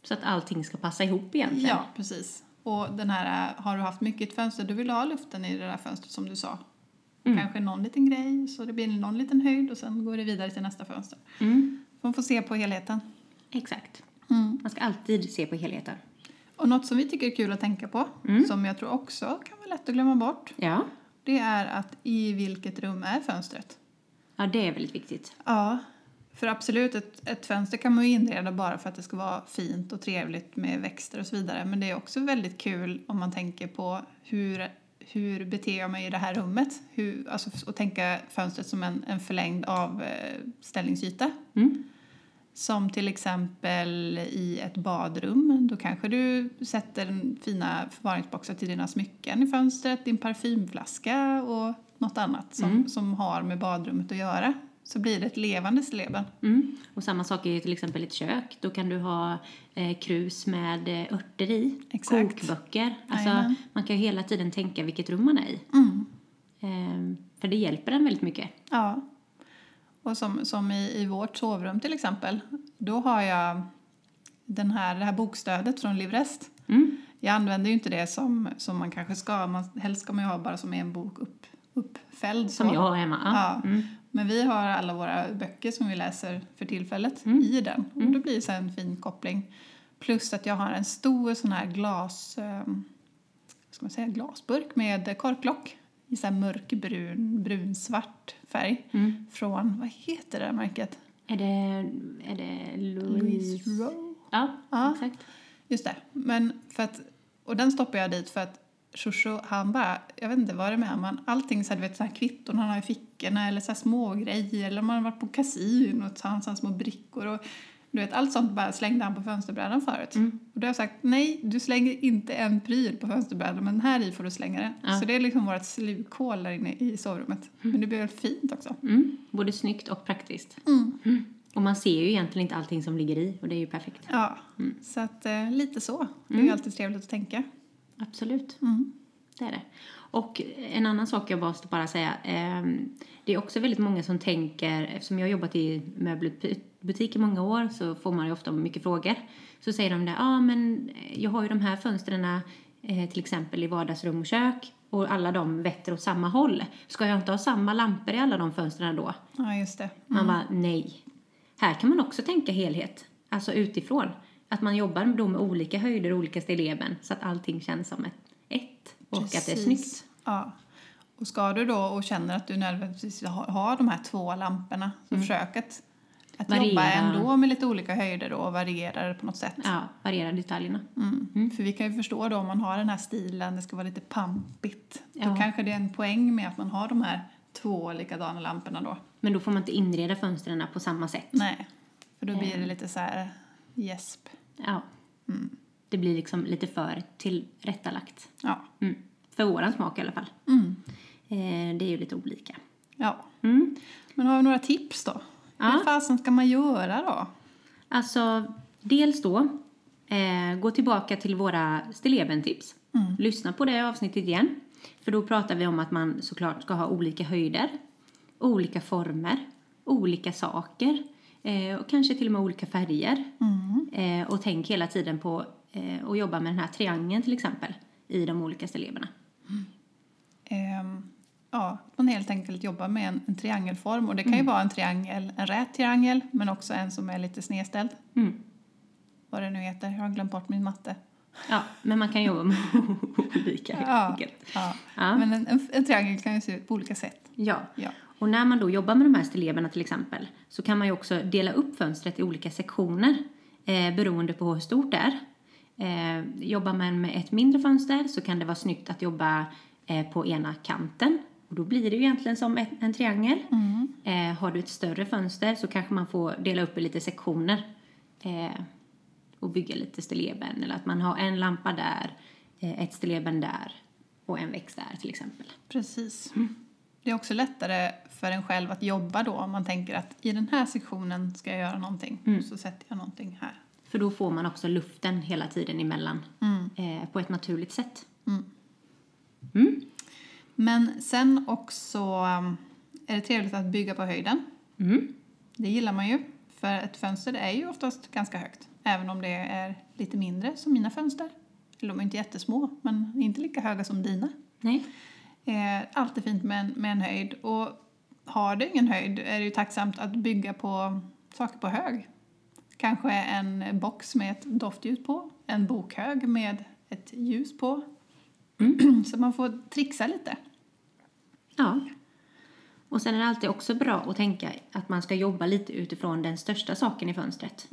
Så att allting ska passa ihop egentligen. Ja, precis. Och den här, äh, har du haft mycket i ett fönster, då vill du ha luften i det där fönstret som du sa. Kanske någon liten grej, så det blir någon liten höjd och sen går det vidare till nästa fönster. Mm. Man får se på helheten. Exakt. Mm. Man ska alltid se på helheten. Och något som vi tycker är kul att tänka på, som jag tror också kan vara lätt att glömma bort, Ja. det är att i vilket rum är fönstret? Ja, det är väldigt viktigt. Ja, för absolut, ett, ett fönster kan man ju inreda bara för att det ska vara fint och trevligt med växter och så vidare. Men det är också väldigt kul om man tänker på hur, hur beter jag mig i det här rummet? Hur, alltså, och tänka fönstret som en, en förlängd avställningsyta. Mm. Som till exempel i ett badrum. Då kanske du sätter en fina förvaringsboxar till dina smycken i fönstret, din parfymflaska och något annat som, Mm. som har med badrummet att göra. Så blir det ett levande stilleben. Mm. Och samma sak är ju till exempel ett kök. Då kan du ha eh, krus med eh, örter i. Exakt. Kokböcker. Alltså, Jajamän. man kan ju hela tiden tänka vilket rum man är i. Mm. Ehm, för det hjälper en väldigt mycket. Ja. Och som, som i, i vårt sovrum till exempel, då har jag den här, det här bokstödet från Livrest. Mm. Jag använder ju inte det som, som man kanske ska, man, helst ska man ju ha bara som en bok upp, uppfälld. Som så. jag har hemma. Ja. Mm. Men vi har alla våra böcker som vi läser för tillfället i den. Och då blir det så här en fin koppling. Plus att jag har en stor sån här glas... Eh, vad ska man säga? Glasburk med korklock i så här mörkbrun, brunsvart färg. Från, vad heter det här märket? Är det, är det Louise? Louise Rowe? Ja, Ja. exakt. Just det. Men för att, och den stoppade jag dit för att Shosho, han bara, jag vet inte vad det är med honom, men allting så här, du vet, så här kvitton han har i fickan brickorna eller så här små grejer. Eller man har varit på kasino och tagit hans små brickor. Och, du vet, allt sånt bara slängde han på fönsterbrädan förut. Mm. Och då har jag sagt, nej, du slänger inte en pryl på fönsterbrädan men här i får du slänga den. Ja. Så det är liksom vårt slukhål där inne i sovrummet. Men det blir väl fint också. Mm. Både snyggt och praktiskt. Mm. Och man ser ju egentligen inte allting som ligger i och det är ju perfekt. Ja, Mm. så att eh, lite så. Det är ju alltid trevligt att tänka. Absolut. Mm. Det är det. Och en annan sak jag måste bara säga. ehm, Det är också väldigt många som tänker, eftersom jag har jobbat i möbelbutik i många år så får man ju ofta mycket frågor. Så säger de det, ja ah, men jag har ju de här fönstren eh, till exempel i vardagsrum och kök och alla de vetter åt samma håll. Ska jag inte ha samma lampor i alla de fönstren då? Ja, just det. Man bara, nej. Här kan man också tänka helhet, alltså utifrån. Att man jobbar då med olika höjder och olika stilleben så att allting känns som ett, ett och att det är Precis. snyggt. Ja. Och ska du då och känner att du nödvändigtvis har, har de här två lamporna, så försök att, att Mm. Variera. jobba ändå med lite olika höjder då och variera det på något sätt. Ja, variera detaljerna. Mm. För vi kan ju förstå då om man har den här stilen, det ska vara lite pampigt. Ja. Då kanske det är en poäng med att man har de här två likadana lamporna då. Men då får man inte inreda fönstren på samma sätt. Nej, för då blir det Eh. lite så här gäsp. Ja. Mm. Det blir liksom lite för tillrättalagt. Ja. Mm. För våran smak i alla fall. Mm. Eh, det är ju lite olika. ja. Mm. Men har vi några tips då? Ja. Hur fasen ska man göra då? Alltså, dels då, eh, gå tillbaka till våra stillebentips. Lyssna på det avsnittet igen. För då pratar vi om att man såklart ska ha olika höjder, olika former, olika saker eh, och kanske till och med olika färger. Eh, och tänk hela tiden på eh, och jobba med den här triangeln till exempel i de olika stilleberna. Ehm, ja, att man helt enkelt jobbar med en, en triangelform. Och det kan ju vara en triangel, en rät triangel, men också en som är lite snedställd. Mm. Vad det nu heter, jag har glömt bort min matte. Ja, men man kan jobba med [laughs] olika helt Ja, enkelt. ja. Ja. Men en, en, en triangel kan ju se ut på olika sätt. Ja. Ja. Och när man då jobbar med de här stilleberna till exempel så kan man ju också dela upp fönstret i olika sektioner eh, beroende på hur stort det är. Eh, jobbar man med ett mindre fönster så kan det vara snyggt att jobba eh, på ena kanten och då blir det ju egentligen som ett, en triangel. Eh, har du ett större fönster så kanske man får dela upp i lite sektioner eh, och bygga lite stilleben eller att man har en lampa där, eh, ett stilleben där och en växt där till exempel. Precis. Mm. Det är också lättare för en själv att jobba då om man tänker att i den här sektionen ska jag göra någonting så sätter jag någonting här. För då får man också luften hela tiden emellan Mm. eh, på ett naturligt sätt. Men sen också um, är det trevligt att bygga på höjden. Mm. Det gillar man ju, för ett fönster är ju oftast ganska högt. Även om det är lite mindre som mina fönster. Eller de är inte jättesmå, men inte lika höga som dina. Nej. Eh, alltid fint med en, med en höjd. Och har du ingen höjd är det ju tacksamt att bygga på saker på hög. Kanske en box med ett doftljus på, en bokhög med ett ljus på. [clears throat] Så man får trixa lite. Ja. Och sen är det alltid också bra att tänka att man ska jobba lite utifrån den största saken i fönstret.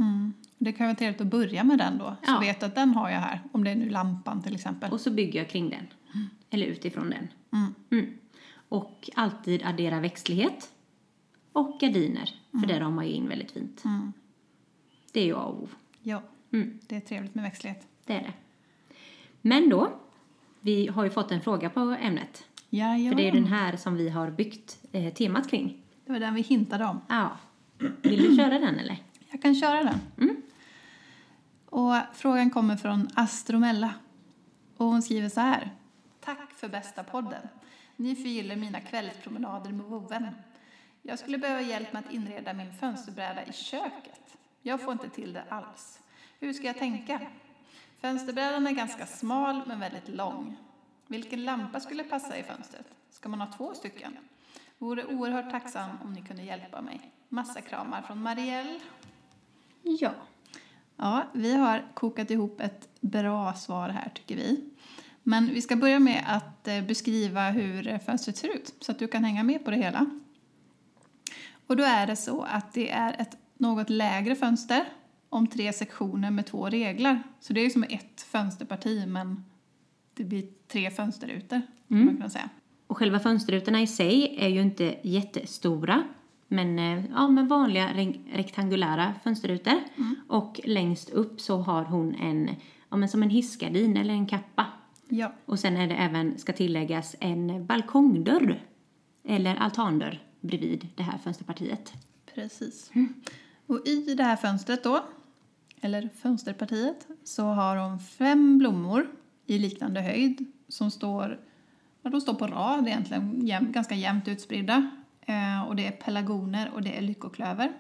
Det kan vara trevligt att börja med den då, så Ja. vet du att den har jag här. Om det är nu lampan till exempel. Och så bygger jag kring den. Eller utifrån den. Mm. Mm. Och alltid addera växtlighet. Och gardiner. För det ramar ju in väldigt fint. Mm. Det är ju A och O. Ja, Mm. det är trevligt med växtlighet. Det är det. Men då. Vi har ju fått en fråga på ämnet. För Jajamän. det är ju den här som vi har byggt eh, temat kring. det var den vi hintade om. Ja. Vill du köra den eller? Jag kan köra den. Mm. Och frågan kommer från Astromella. Och hon skriver så här. Tack för bästa podden. Ni förgyller mina kvällspromenader med vovven. Jag skulle behöva hjälp med att inreda min fönsterbräda i köket. Jag får inte till det alls. Hur ska jag tänka? Fönsterbrädan är ganska smal men väldigt lång. Vilken lampa skulle passa i fönstret? Ska man ha två stycken? Vore oerhört tacksam om ni kunde hjälpa mig. Massa kramar från Marielle. Ja. Ja, vi har kokat ihop ett bra svar här tycker vi. Men vi ska börja med att eh, beskriva hur eh, fönstret ser ut så att du kan hänga med på det hela. Och då är det så att det är ett något lägre fönster om tre sektioner med två reglar. Så det är ju som ett fönsterparti men det blir tre fönsterrutor. Mm. Man kan säga. Och Och själva fönsterrutorna i sig är ju inte jättestora. Men, eh, ja, men vanliga re- rektangulära fönsterrutor. Och längst upp så har hon en, ja, men som en hissgardin eller en kappa. Ja. Och sen är det även, ska tilläggas, en balkongdörr. Eller altandörr bredvid det här fönsterpartiet. Precis. Och i det här fönstret då, eller fönsterpartiet, så har hon fem blommor i liknande höjd som står, ja, de står på rad egentligen, jäm, ganska jämnt utspridda. Eh, och det är pelargoner och det är lyckoklöver.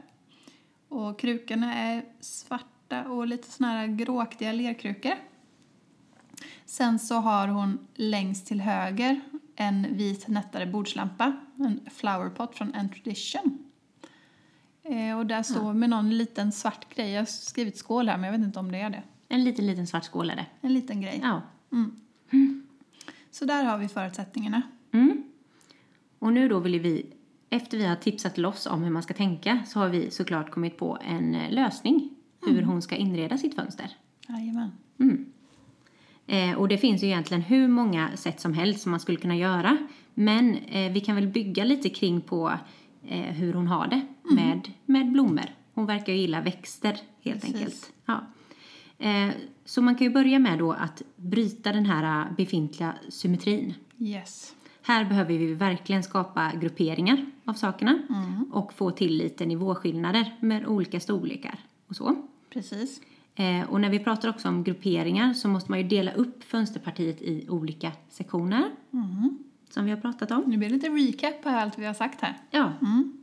Och krukorna är svarta och lite såna här gråaktiga lerkrukor. Sen så har hon längst till höger en vit nättare bordslampa, en flowerpot från Entradition. Eh, och där står med någon liten svart grej. Jag har skrivit skål här men jag vet inte om det är det. En liten, liten svart skål är det. En liten grej. Ja. Så där har vi förutsättningarna. Mm. Och nu då vill ju vi, efter vi har tipsat loss om hur man ska tänka, så har vi såklart kommit på en eh, lösning hur hon ska inreda sitt fönster. Jajamän. Eh, och det finns ju egentligen hur många sätt som helst som man skulle kunna göra. Men eh, vi kan väl bygga lite kring på eh, hur hon har det med, med blommor. Hon verkar ju gilla växter helt Precis. enkelt. Ja. Eh, så man kan ju börja med då att bryta den här eh, befintliga symmetrin. Yes. Här behöver vi verkligen skapa grupperingar av sakerna och få till lite nivåskillnader med olika storlekar och så. Precis. Eh, och när vi pratar också om grupperingar så måste man ju dela upp fönsterpartiet i olika sektioner som vi har pratat om. Mhm. Nu blir det lite recap på allt vi har sagt här. Mm.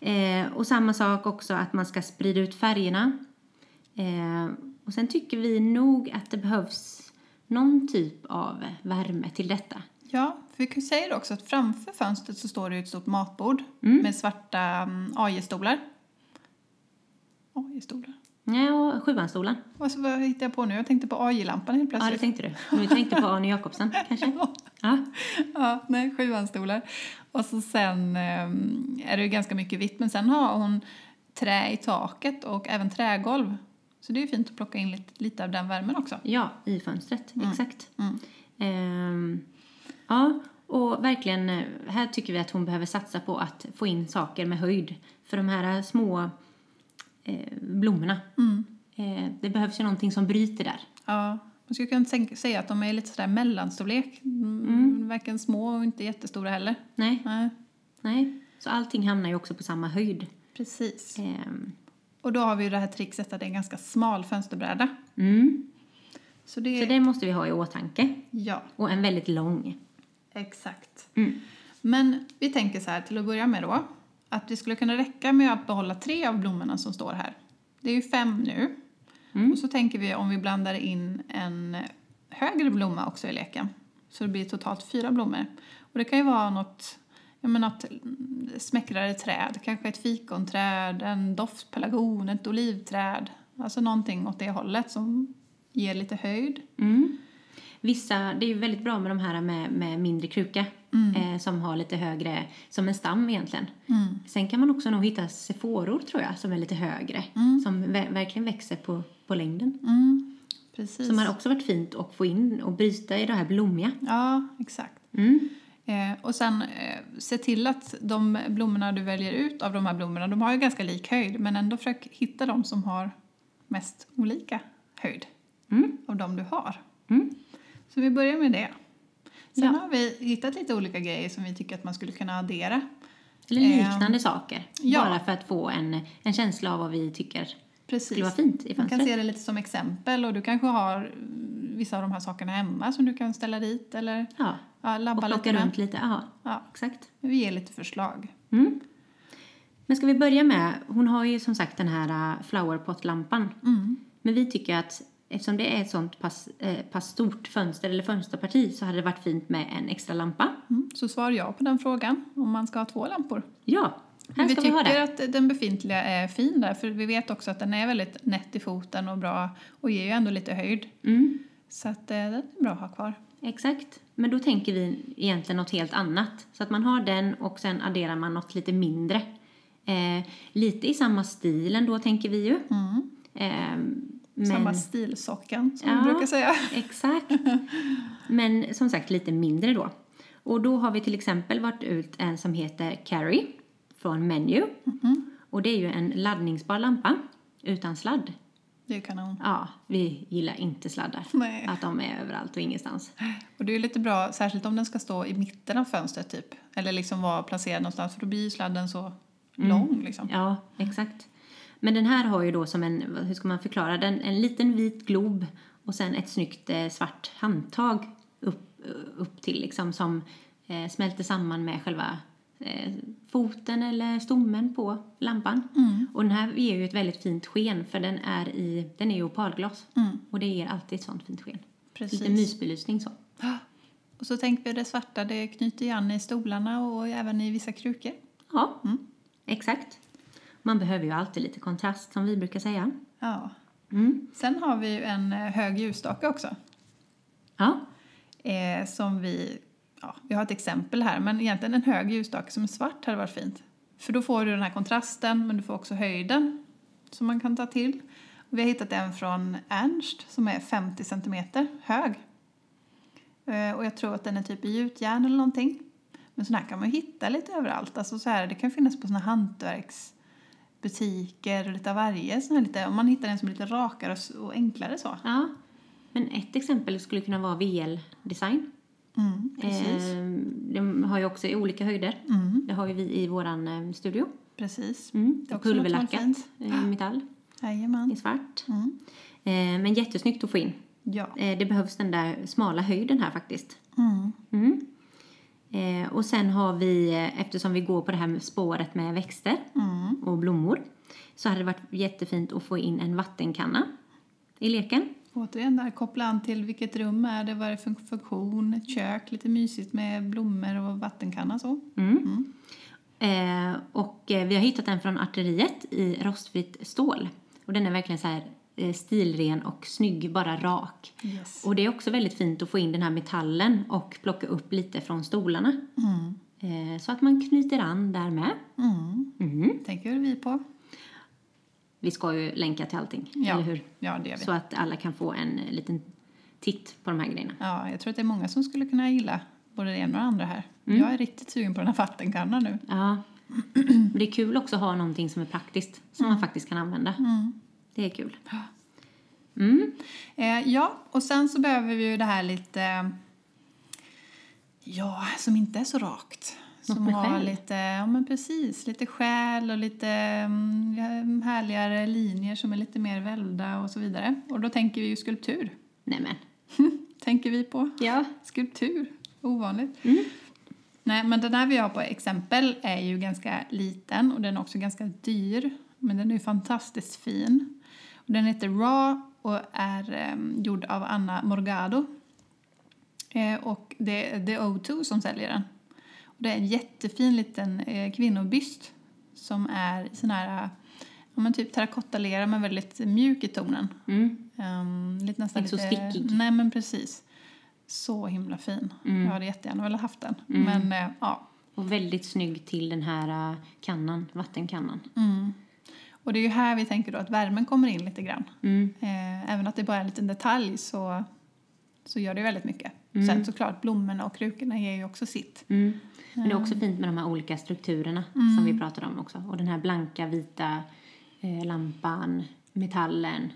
Ja. Eh, och samma sak också att man ska sprida ut färgerna. Eh, och sen tycker vi nog att det behövs någon typ av värme till detta. Ja, för vi säger också att framför fönstret så står det ju ett stort matbord med svarta mm, AJ-stolar. AJ-stolar? Ja, och sjuanstolen. Vad, vad hittar jag på nu? Jag tänkte på AJ-lampan helt Ja, det plötsligt. tänkte du. Nu tänkte på Arne Jakobsen [laughs] kanske. Ja. Ja, nej, sjuanstolar. Och så sen ehm, är det ju ganska mycket vitt, men sen har hon trä i taket och även trägolv. Så det är ju fint att plocka in lite, lite av den värmen också. Ja, i fönstret. Exakt. Ehm, ja, och verkligen, eh, här tycker vi att hon behöver satsa på att få in saker med höjd. För de här eh, små eh, blommorna, eh, det behövs ju någonting som bryter där. Mm. Ja, man skulle kunna tänka, säga att de är lite sådär mellanstorlek. Mm. Varken små och inte jättestora heller. Nej, Nej, nej. Så allting hamnar ju också på samma höjd. precis. Ehm, Och då har vi ju det här trixet att det är en ganska smal fönsterbräda. mm. Så det, Så det måste vi ha i åtanke. Ja, Och en väldigt lång. exakt. Mm. Men vi tänker så här till att börja med då. Att det skulle kunna räcka med att behålla tre av blommorna som står här. Det är ju fem nu. Och så tänker vi om vi blandar in en högre blomma också i leken. Så det blir totalt fyra blommor. Och det kan ju vara något, ja men något mm, smäckrare träd. Kanske ett fikonträd, en doftpelargon, ett olivträd. Alltså någonting åt det hållet som ger lite höjd. Mm. Vissa, det är ju väldigt bra med de här med, med mindre kruka Mm. eh, som har lite högre, som en stam egentligen. Sen kan man också nog hitta seforor tror jag som är lite högre, som ver- verkligen växer på, på längden. Mm, precis. Som har också varit fint att få in och bryta i det här blommiga. Ja, exakt. Mm. Eh, och sen eh, se till att de blommorna du väljer ut av de här blommorna, de har ju ganska lik höjd, men ändå försök hitta de som har mest olika höjd Mm. av de du har. Mm. Så vi börjar med det. Sen Ja. har vi hittat lite olika grejer som vi tycker att man skulle kunna addera. Eller Ehm, liknande saker, ja. bara för att få en, en känsla av vad vi tycker skulle Precis. vara fint i Man kan fönstret. se det lite som exempel och du kanske har mm, vissa av de här sakerna hemma som du kan ställa dit eller Ja, ja, och labba lite plocka med. runt lite. Ja, Ja, exakt. vi ger lite förslag. Mm. Men ska vi börja med, hon har ju som sagt den här äh, flowerpot-lampan. Mm. Men vi tycker att eftersom det är ett sånt pass, eh, pass stort fönster eller fönsterparti så hade det varit fint med en extra lampa. Mm. Så svarar jag på den frågan om man ska ha två lampor. Ja, här Men vi ska vi ha tycker det. att den befintliga är fin där för vi vet också att den är väldigt nätt i foten och bra och ger ju ändå lite höjd. Mm, Så att eh, den är bra att ha kvar. exakt. Men då tänker vi egentligen något helt annat. Så att man har den och sen adderar man något lite mindre. Eh, lite i samma stil ändå tänker vi ju. Eh, men... Mm. Samma stilsockan som Ja. vi brukar säga. Exakt. Men som sagt lite mindre då. Och då har vi till exempel varit ut en som heter Carry från Menu. Och det är ju en laddningsbar lampa utan sladd. Det är ju kanon. Ja, vi gillar inte sladdar. Nej. Att de är överallt och ingenstans. Och det är ju lite bra, särskilt om den ska stå i mitten av fönstret typ. Eller liksom vara placerad någonstans för då blir ju sladden så Mm. lång liksom. Ja, exakt. Men den här har ju då som en, hur ska man förklara den, en liten vit glob och sen ett snyggt eh, svart handtag upp, upp till liksom som eh, smälter samman med själva eh, foten eller stommen på lampan. Och den här ger ju ett väldigt fint sken för den är i, den är ju opalglas och det ger alltid ett sånt fint sken. Lite Mm, Precis. mysbelysning så. [gasps] Och så tänker vi det svarta, det knyter ju an i stolarna och även i vissa krukor. Ja, exakt. Man behöver ju alltid lite kontrast som vi brukar säga. Ja. Mm. Sen har vi ju en eh, hög ljusstake också. Ja, Eh, som vi, ja, vi har ett exempel här, men egentligen en hög ljusstake som är svart hade varit fint. För då får du den här kontrasten, men du får också höjden som man kan ta till. Och vi har hittat en från Ernst som är 50 centimeter hög. Eh, och jag tror att den är typ i gjutjärn eller någonting. Men sådana här kan man ju hitta lite överallt. Alltså så här, det kan finnas på sådana hantverksbutiker och lite av varje. Sån här lite, om man hittar en som är lite rakare och s- och enklare så. Ja, men ett exempel skulle kunna vara VL-design. Mm, precis. Eh, de har ju också i olika höjder. Mm, Det har ju vi i våran eh, studio. precis. Mm, Det är också något som är pulverlackat fint. Ah. eh, i metall i Jajamän. svart. Mm. Eh, men jättesnyggt att få in. Ja. Eh, det behövs den där smala höjden här faktiskt. Mm. Mm. Eh, och sen har vi, eh, eftersom vi går på det här med spåret med växter Mm. och blommor, så hade det varit jättefint att få in en vattenkanna i leken. Återigen där, koppla an till vilket rum är det, vad är det för funktion, ett kök, lite mysigt med blommor och vattenkanna så. Mm. Eh, och eh, vi har hittat den från arteriet i rostfritt stål. Och den är verkligen så här eh, stilren och snygg, bara rak. Yes. Och det är också väldigt fint att få in den här metallen och plocka upp lite från stolarna. Mm. Eh, så att man knyter an där med. Mm. Mhm. Tänker vi på. Vi ska ju länka till allting, Ja. eller hur? Ja, det gör vi. Så att alla kan få en eh, liten titt på de här grejerna. Ja, jag tror att det är många som skulle kunna gilla både det ena och det andra här. Mm. Jag är riktigt sugen på den här vattenkannan nu. [clears throat] Ja. Men det är kul också att ha någonting som är praktiskt, Mm. som man faktiskt kan använda. Det är kul. Mm. Eh, ja, och sen så behöver vi ju det här lite... eh, Ja, som inte är så rakt. Något som med har själ. lite, ja men precis, lite själ och lite mm, härligare linjer som är lite mer välda och så vidare. Och då tänker vi ju skulptur. Nej men. tänker vi på. Ja. Skulptur, ovanligt. Mm. Nej, men den här vi har på exempel är ju ganska liten och den är också ganska dyr. Men den är ju fantastiskt fin. Och den heter Raw och är em, gjord av Anna Morgado. Eh, och det är The O2 som säljer den. Och det är en jättefin liten eh, kvinnobyst som är i sån här eh, ja, men typ terrakottalera men väldigt mjuk i tonen. Mm. Um, lite nästan Inte så lite, stickig. Mm. Nej, men precis. Så himla fin. Jag hade jättegärna velat haft den. Men eh, ja. Och väldigt snygg till den här eh, kannan, vattenkannan. Mm. Och det är ju här vi tänker då att värmen kommer in lite grann. Mm. Eh, även att det bara är en liten detalj så, så gör det väldigt mycket. Sen såklart blommorna och krukorna ger ju också sitt. Mm. Men det är också fint med de här olika strukturerna som vi pratade om också. Och den här blanka, vita eh, lampan, metallen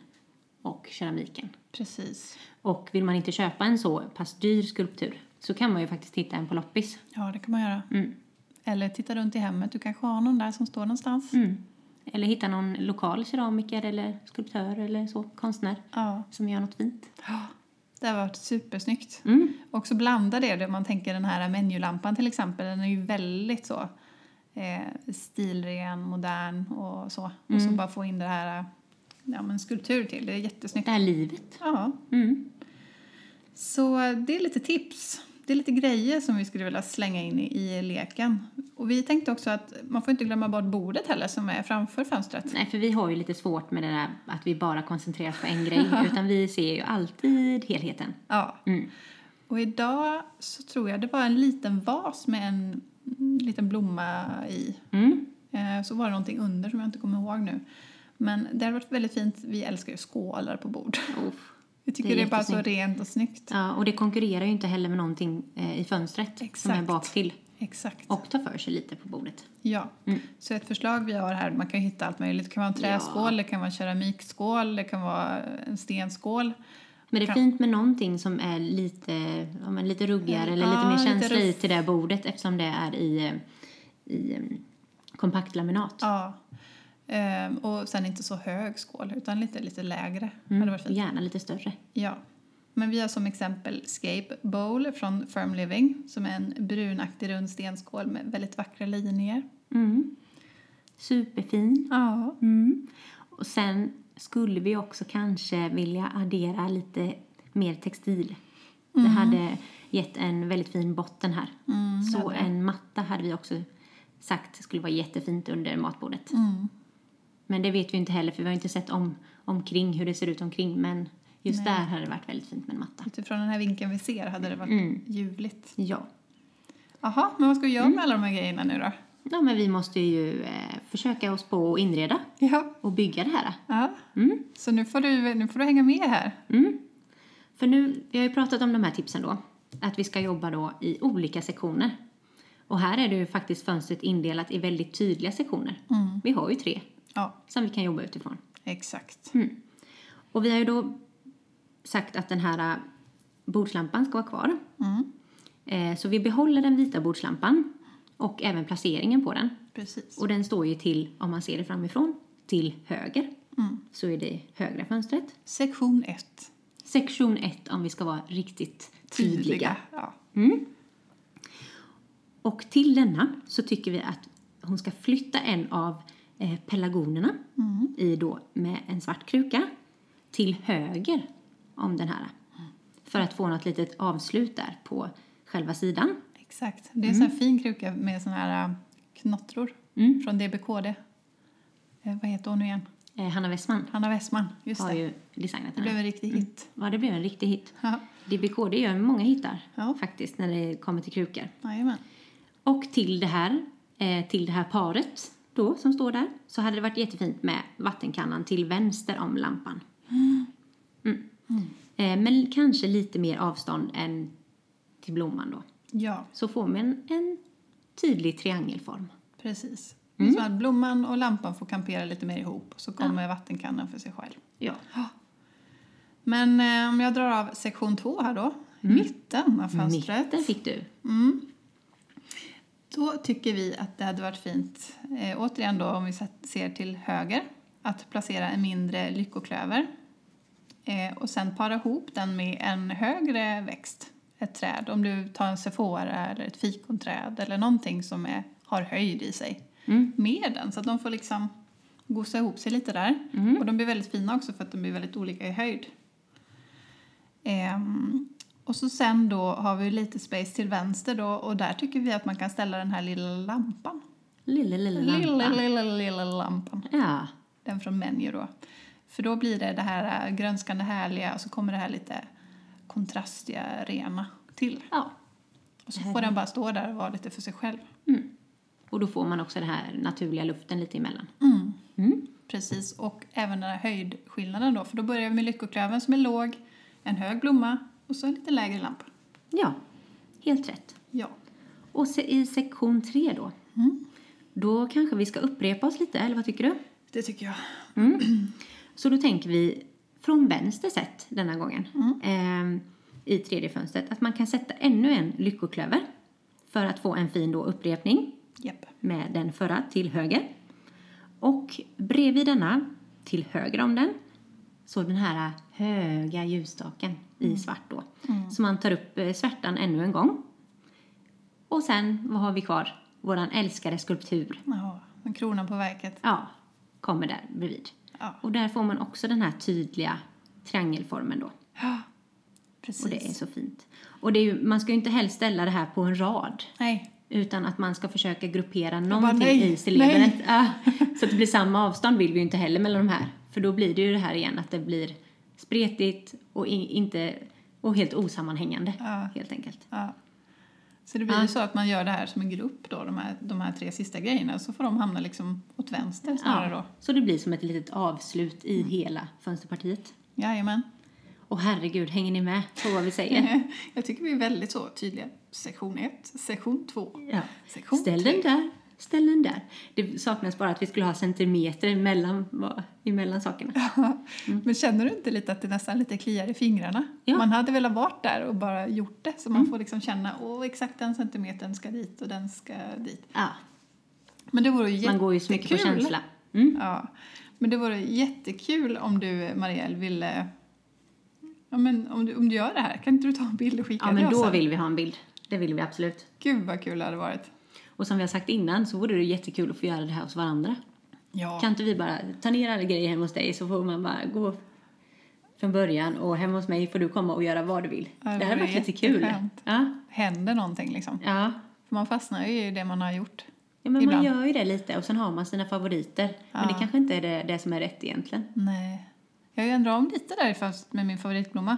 och keramiken. Precis. Och vill man inte köpa en så pass dyr skulptur så kan man ju faktiskt hitta en på loppis. Ja, det kan man göra. Mm. Eller titta runt i hemmet. Du kanske har någon där som står någonstans. Mm. Eller hitta någon lokal keramiker eller skulptör eller så, konstnär Ja. som gör något fint. Ja, Det har varit supersnyggt. Mm. Och så blanda det, det om man tänker den här menulampan till exempel, den är ju väldigt så eh, stilren, modern och så. Och så bara få in det här, eh, ja men skulptur till, det är jättesnyggt. Det här livet. Ja, Mm. så det är lite tips. Det är lite grejer som vi skulle vilja slänga in i, i leken. Och vi tänkte också att man får inte glömma bort bordet heller som är framför fönstret. Nej, för vi har ju lite svårt med det där att vi bara koncentrerar oss på [laughs] en grej. utan vi ser ju alltid helheten. Ja. Mm. Och idag så tror jag det var en liten vas med en mm, liten blomma i. Mm. Eh, Så var det någonting under som jag inte kommer ihåg nu. Men det hade varit väldigt fint. Vi älskar ju skålar på bord. [laughs] Uff. Jag tycker Det det är är, bara så jättesnyggt. rent och snyggt. Ja, och det konkurrerar ju inte heller med någonting eh, i fönstret som är Exakt. bak till Exakt. och tar för sig lite på bordet. Ja. Mm. Så ett förslag vi har här, man kan ju hitta allt möjligt. Det kan vara en Ja. träskål, det kan vara en keramikskål, det kan vara en stenskål. Men det är Fram- fint med någonting som är lite, ja, men lite ruggigare eller lite Ja, mer lite känsla i ruff. till det här bordet eftersom det är i, eh, i eh, kompakt laminat. Ja. Ehm, och sen inte så hög skål, utan lite, lite lägre. Hade varit Och fint. gärna lite större. Ja. Men vi har som exempel Scape Bowl från Firm Living som är en brunaktig rund stenskål med väldigt vackra linjer. Mm. Superfin. Ja. Mm. Och sen skulle vi också kanske vilja addera lite mer textil. Det hade gett en väldigt fin botten här. Så en matta hade vi också sagt skulle vara jättefint under matbordet. Mm. Men det vet vi inte heller för vi har inte sett om, omkring hur det ser ut omkring. Men just där hade det varit väldigt fint med en matta. Utifrån den här vinkeln vi ser hade det varit Mm. ljuvligt. Ja. Jaha, men vad ska vi göra med alla de här grejerna nu då? ja, men vi måste ju eh, försöka oss på att inreda Ja. och bygga det här. ja. Mm. Så nu får, du, nu får du hänga med här. Mm. För nu, vi har ju pratat om de här tipsen då. Att vi ska jobba då i olika sektioner. Och här är det ju faktiskt fönstret indelat i väldigt tydliga sektioner. Mm. Vi har ju tre Ja, som vi kan jobba utifrån. exakt. Mm. Och vi har ju då sagt att den här eh, bordslampan ska vara kvar. Mm. Eh, Så vi behåller den vita bordslampan och även placeringen på den. Precis. Och den står ju till, om man ser det framifrån, till höger. Mm. Så är det högra fönstret. Sektion 1. Sektion 1 om vi ska vara riktigt tydliga. Ja. Och till denna så tycker vi att hon ska flytta en av eh, pelargonerna Mm. i då med en svart kruka till höger om den här. Mm. För att få något litet avslut där på själva sidan. Exakt. Det är en sån här fin kruka med såna här äh, knottror Mm. från DBKD. Eh, vad heter hon nu igen? Eh, Hanna Westman Hanna Westman. Just har det. ju designat Det den här. blev en riktig hit. Ja, det blev en riktig hit. Ja. DBKD gör många hittar Ja. faktiskt när det kommer till krukor. Jajamän. Och till det här, eh, till det här paret då som står där så hade det varit jättefint med vattenkannan till vänster om lampan. Mm. Eh, men kanske lite mer avstånd än till blomman då. Ja, Så får man en tydlig triangelform. precis. Mm. Så att blomman och lampan får kampera lite mer ihop och så kommer vattenkannan för sig själv. Ja. Men eh, om jag drar av sektion två här då, mitten av fönstret. Mitten fick du. Då tycker vi att det hade varit fint, eh, återigen då om vi sett- ser till höger, att placera en mindre lyckoklöver eh, och sen para ihop den med en högre växt, ett träd. Om du tar en sephora eller ett fikonträd eller någonting som är, har höjd i sig med den så att de får liksom gosa ihop sig lite där. Och de blir väldigt fina också för att de blir väldigt olika i höjd. Ehm, och så sen då har vi lite space till vänster då och där tycker vi att man kan ställa den här lilla lampan. Lilla, lilla lampa. Lilla, lilla, lilla lampan. Ja. Den från Menu då. För då blir det det här äh, grönskande härliga och så kommer det här lite kontrastiga rena till. ja. Och så får den bara stå där och vara lite för sig själv. Och då får man också den här naturliga luften lite emellan. Mm. Precis, och även den här höjdskillnaden då. För då börjar vi med lyckoklövern som är låg, en hög blomma och så en lite lägre lampa. Ja, helt rätt. Ja. Och se, i sektion 3 då. Då kanske vi ska upprepa oss lite, eller vad tycker du? Det tycker jag. Så då tänker vi från vänster sett denna gången ehm, i tredje fönstret att man kan sätta ännu en lyckoklöver för att få en fin då upprepning Japp. med den förra till höger. Och bredvid denna, till höger om den, så den här höga ljusstaken i svart då. Så man tar upp eh, svärtan ännu en gång. Och sen, vad har vi kvar? Våran älskade skulptur. Ja, men kronan på verket. Ja, kommer där bredvid. Ja. Och där får man också den här tydliga triangelformen då. Ja, precis. Och det är så fint. Och det är ju, man ska ju inte helst ställa det här på en rad. Nej, Utan att man ska försöka gruppera bara, någonting nej, i silibret. [laughs] Ja, så att det blir samma avstånd vill vi ju inte heller mellan de här. För då blir det ju det här igen att det blir spretigt och, i- inte, och helt osammanhängande. Ja. Helt enkelt. ja. Så det blir ju så att man gör det här som en grupp då, de här, de här tre sista grejerna. Så får de hamna liksom åt vänster snarare då. Mm. Så det blir som ett litet avslut i hela fönsterpartiet. Jajamän. [laughs] Och herregud, hänger ni med på vad vi säger? Jag tycker vi är väldigt så tydliga. Sektion 1, sektion 2, Ja. sektion Ställ 3. den där, ställ den där. Det saknas bara att vi skulle ha centimeter mellan, va- emellan sakerna. Men känner du inte lite att det nästan lite kliar i fingrarna? Mm. Ja. Mm. Man hade velat varit där och bara gjort det så man får liksom känna åh exakt den centimetern ska dit och den ska dit. Ja, Men det vore ju man går ju så mycket på jättekul. känsla. Mm. Ja, men det vore jättekul om du, Marielle, ville... Ja, men om, du, om du gör det här, kan inte du ta en bild och skicka Ja, till men oss då sen? vill vi ha en bild. Det vill vi absolut. Gud vad kul det hade varit. Och som vi har sagt innan så vore det jättekul att få göra det här hos varandra. Ja. Kan inte vi bara ta ner alla grejer hemma hos dig så får man bara gå från början och hemma hos mig får du komma och göra vad du vill. Ja, det det hade vore varit jättekul. jätteskönt. Ja, Händer någonting liksom. ja. För man fastnar ju i det man har gjort. ja men man Ibland. gör ju det lite och sen har man sina favoriter. Men det kanske inte är det, det som är [laughs] rätt egentligen. Nej. Jag har ju ändrat om lite där fast med min favoritblomma.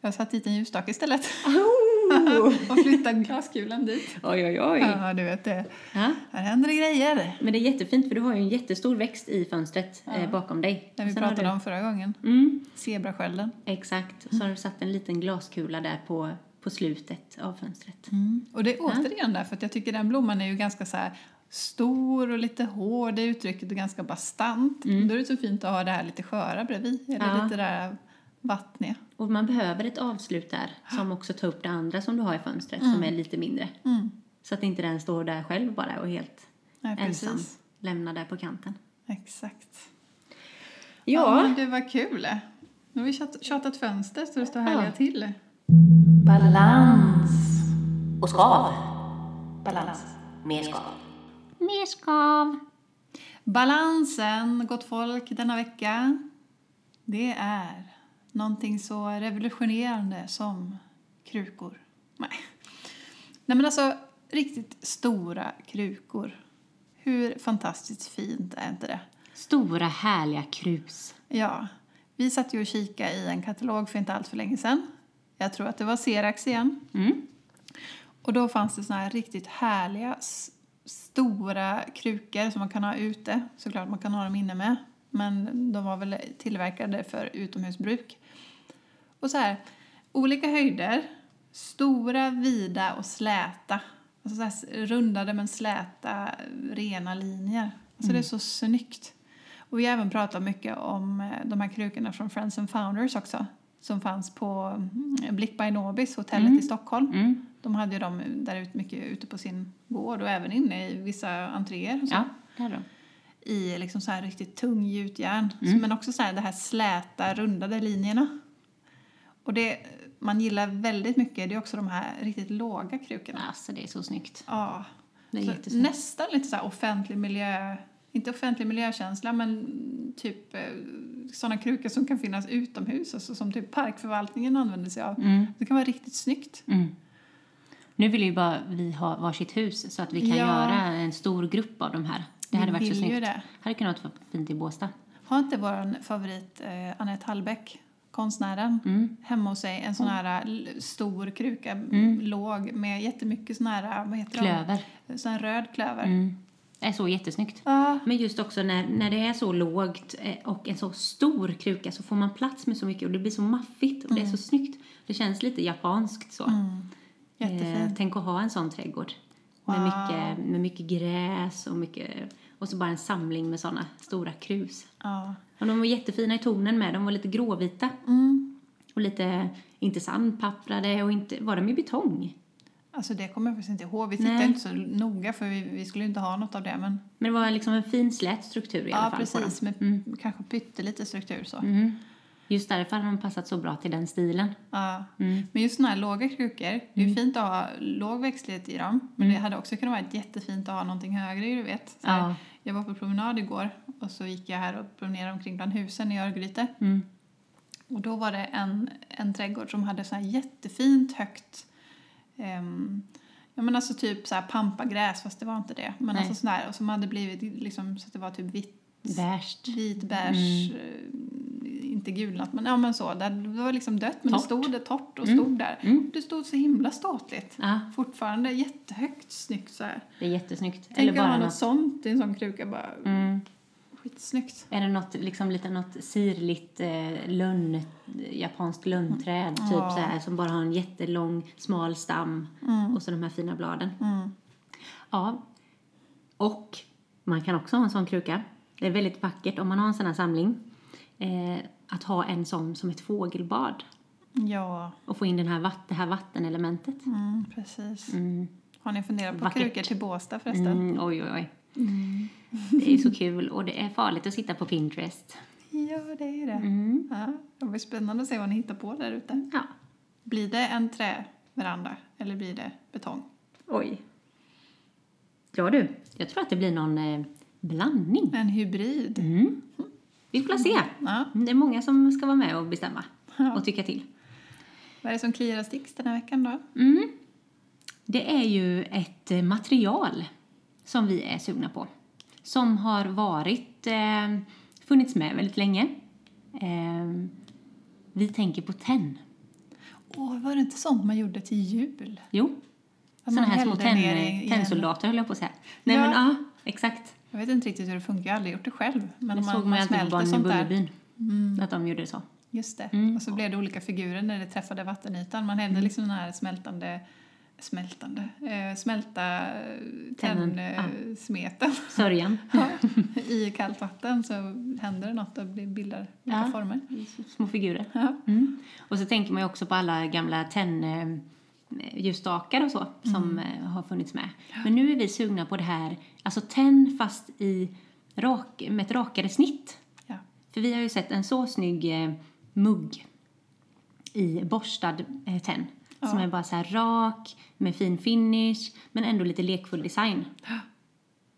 Jag har satt dit en ljusstake istället Oh! [laughs] och flyttat glaskulan dit. oj, oj, oj. Ja. Ja, du vet det. Här händer det grejer. Men det är jättefint för du har ju en jättestor växt i fönstret eh, bakom dig. Det Och vi sen har pratade du- om förra gången. Mm, Zebraskölden. exakt. Mm. Och så har du satt en liten glaskula där på, på slutet av fönstret. Och det är återigen där, för att jag tycker den blomman är ju ganska så här stor och lite hård i uttrycket och ganska bastant. Då är det så fint att ha det här lite sköra bredvid, eller Mm. Ja. lite där vattniga. Och man behöver ett avslut där som också tar upp det andra som du har i fönstret Mm. som är lite mindre. Så att inte den står där själv bara och helt Nej, precis. ensam lämnad där på kanten. Exakt. Ja, men du, vad kul! Nu har vi tjat- tjatat fönster så det står härliga Ja. till. Balans. Och skav. Balans. Mer skav. mer skav. Balansen, gott folk, denna vecka, det är någonting så revolutionerande som krukor. Nej. Nej men alltså, riktigt stora krukor. Hur fantastiskt fint är inte det? Stora härliga krus. Ja, vi satt ju och kikade i en katalog för inte allt för länge sedan. Jag tror att det var Serax igen. Mm. Och då fanns det såna här riktigt härliga s- stora krukor som man kan ha ute. Såklart man kan ha dem inne med. Men de var väl tillverkade för utomhusbruk. Och så här, olika höjder. Stora, vida och släta. Alltså så här s- rundade men släta, rena linjer. Alltså Mm. det är så snyggt. Och vi har även pratat mycket om eh, de här krukorna från Friends and Founders också. Som fanns på mm, Blick by Nobis, hotellet i Stockholm. Mm. De hade ju dem där ute mycket ute på sin gård och även inne i vissa entréer. och Så, Ja, det hade de. I liksom så här riktigt tung gjutjärn. Mm. Men också så här, de här släta, rundade linjerna. Och det man gillar väldigt mycket det är också de här riktigt låga krukorna. Alltså det är så snyggt. Ja. Det är Så jättesnyggt. nästan lite så här offentlig miljö, inte offentlig miljökänsla men typ eh, sådana krukor som kan finnas utomhus, alltså som typ parkförvaltningen använder sig av. Det kan vara riktigt snyggt. Mm. Nu vill ju bara vi ha varsitt hus så att vi kan Ja. göra en stor grupp av de här. Det Vi hade varit så vill ju snyggt. det. hade kunnat vara fint i Båstad. Har inte vår favorit eh, Anette Hallbäck, konstnären, Mm. hemma hos sig en sån här eh, l- stor kruka, Mm. låg, med jättemycket sån här, eh, vad heter Klöver. de? Eh, Sån här röd klöver. Ah. Mm. Det är så jättesnyggt. Ja, Men just också när, när det är så lågt eh, och en så stor kruka så får man plats med så mycket och det blir så maffigt och det Mm. är så snyggt. Det känns lite japanskt så. jättefint. Eh, tänk att ha en sån trädgård. Med, Wow. mycket, med mycket gräs och mycket och så bara en samling med såna stora krus. Ja. Och de var jättefina i tonen med. De var lite gråvita Mm. och lite, inte sandpapprade och inte, var de i betong? Alltså det kommer jag faktiskt inte ihåg. Vi tittade Nej. inte så noga för vi, vi skulle ju inte ha något av det. Men Men det var liksom en fin slät struktur i alla ja, fall på dem. precis. Med kanske pyttelite struktur så. Mm. Just därför har de passat så bra till den stilen. Mm, Ja. Men just sådana här låga krukor, det är ju fint att ha låg växtlighet i dem. Men det hade också kunnat vara jättefint att ha någonting högre du vet. Så här, Mm. Ja. Jag var på promenad igår och så gick jag här och promenerade omkring bland husen i Örgryte. Mm. Och då var det en, en trädgård som hade så här jättefint högt ehm, Ja men alltså typ så här pampagräs fast det var inte det. Men Nej. alltså sådär och som hade blivit liksom så att det var typ vitt Värst. vitbärs, eh, inte gulnat, men, ja, men så. Där, det var liksom dött, men Torrt. Mm. det stod det torrt och stod där. Det stod så himla ståtligt. Ja, Fortfarande jättehögt, snyggt så här. det är jättesnyggt. Tänk att ha något något- sånt i en sån kruka. Bara, Mm. Skitsnyggt. Är det något, liksom lite något sirligt eh, lönn, japanskt lönnträd typ Ja. så här, som bara har en jättelång smal stam och så de här fina bladen. Mm. Ja. Och man kan också ha en sån kruka. Det är väldigt vackert om man har en sån här samling. Eh, att ha en sån som ett fågelbad Ja, och få in den här, vatt, det här vattenelementet. mm, precis. Mm. Har ni funderat på Vackert. krukor till Båstad förresten? Mm, oj, oj, oj. Mm. Det är så kul och det är farligt att sitta på Pinterest. Ja, det är ju det. Mm. Ja, det blir spännande att se vad ni hittar på där ute. Ja. Blir det en träveranda eller blir det betong? Oj. Ja du, jag tror att det blir någon eh, blandning. En hybrid. Mm. Vi får se. Ja. Mm, Det är många som ska vara med och bestämma Ja. och tycka till. Vad är det som kliar och sticks den här veckan då? Mm. Det är ju ett eh, material som vi är sugna på. Som har varit, eh, funnits med väldigt länge. Eh, vi tänker på tenn. Åh, var det inte sånt man gjorde till jul? Jo, Att sådana man här små hällde ner i- i tenn, en- tennsoldater höll jag på att säga. Nej Ja. men ja, exakt. Jag vet inte riktigt hur det funkar, jag har aldrig gjort det själv. Men Det man, såg man man ju alltid på smälter barnen i sånt där. Mm. Bullerbyn. Att de gjorde så. Just det. Mm. Och så blev det olika figurer när det träffade vattenytan. Man hällde liksom den här smältande smältande, eh, smälta eh, Tennen, tännsmeten Sörjan. [laughs] i kallt vatten så händer det något och blir- bildar olika Ja. former. [laughs] Små figurer. Ja. Mm. Och så tänker man ju också på alla gamla tenn eh, ljusstakar och så Mm. som eh, har funnits med. Men nu är vi sugna på det här, alltså tenn fast i rak, med ett rakare snitt. Ja. För vi har ju sett en så snygg eh, mugg i borstad eh, tenn. Som Ja. är bara så här rak, med fin finish, men ändå lite lekfull [gasps] design.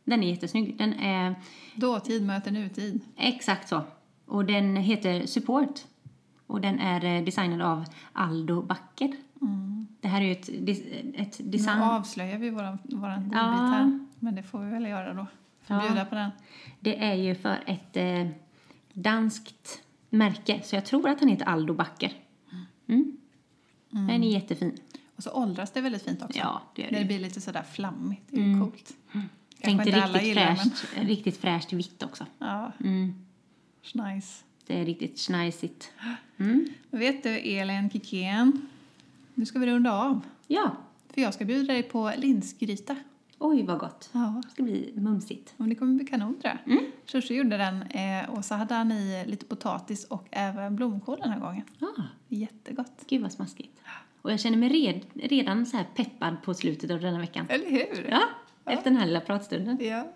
Den är jättesnygg. Den är Dåtid möter nutid. Exakt så. Och den heter Support. Och den är eh, designad av Aldo Backer. Det här är ju ett, dis- ett Nu design... avslöjar vi våran, våran godbit Ja. här. Men det får vi väl göra då. Får Ja. bjuda på den. Det är ju för ett eh, danskt märke. Så jag tror att han heter Aldo Backer. Mm. Den är jättefin. Och så åldras det väldigt fint också. Ja, det gör det det ju. blir lite sådär flammigt. Det är ju coolt. Kanske Tänkte inte alla riktigt gillar, fräscht, riktigt fräscht vitt också. Men, ja, Mm. nice. Det är [gasps] riktigt Mm. schnajsigt. Vet du, Elin Kikén. Nu ska vi runda av. Ja, För jag ska bjuda dig på linsgryta. oj vad gott. Ja. Det ska bli mumsigt. Och det kommer bli kanon tror jag. Mm. gjorde den eh, och så hade han i lite potatis och även blomkål den här gången. Ah. Jättegott. Gud [gasps] vad smaskigt. Och jag känner mig red, redan så här peppad på slutet av denna veckan. Eller hur? Ja, efter den här lilla pratstunden. Ja.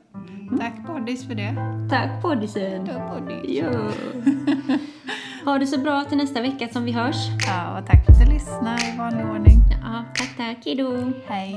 Tack Bodis för det. Tack poddisen! Ja, Bodis. [laughs] Ja. Ha det så bra till nästa vecka som vi hörs. Ja, och tack för att du lyssnade i vanlig ordning. Ja, tack tack, hejdå! Hej.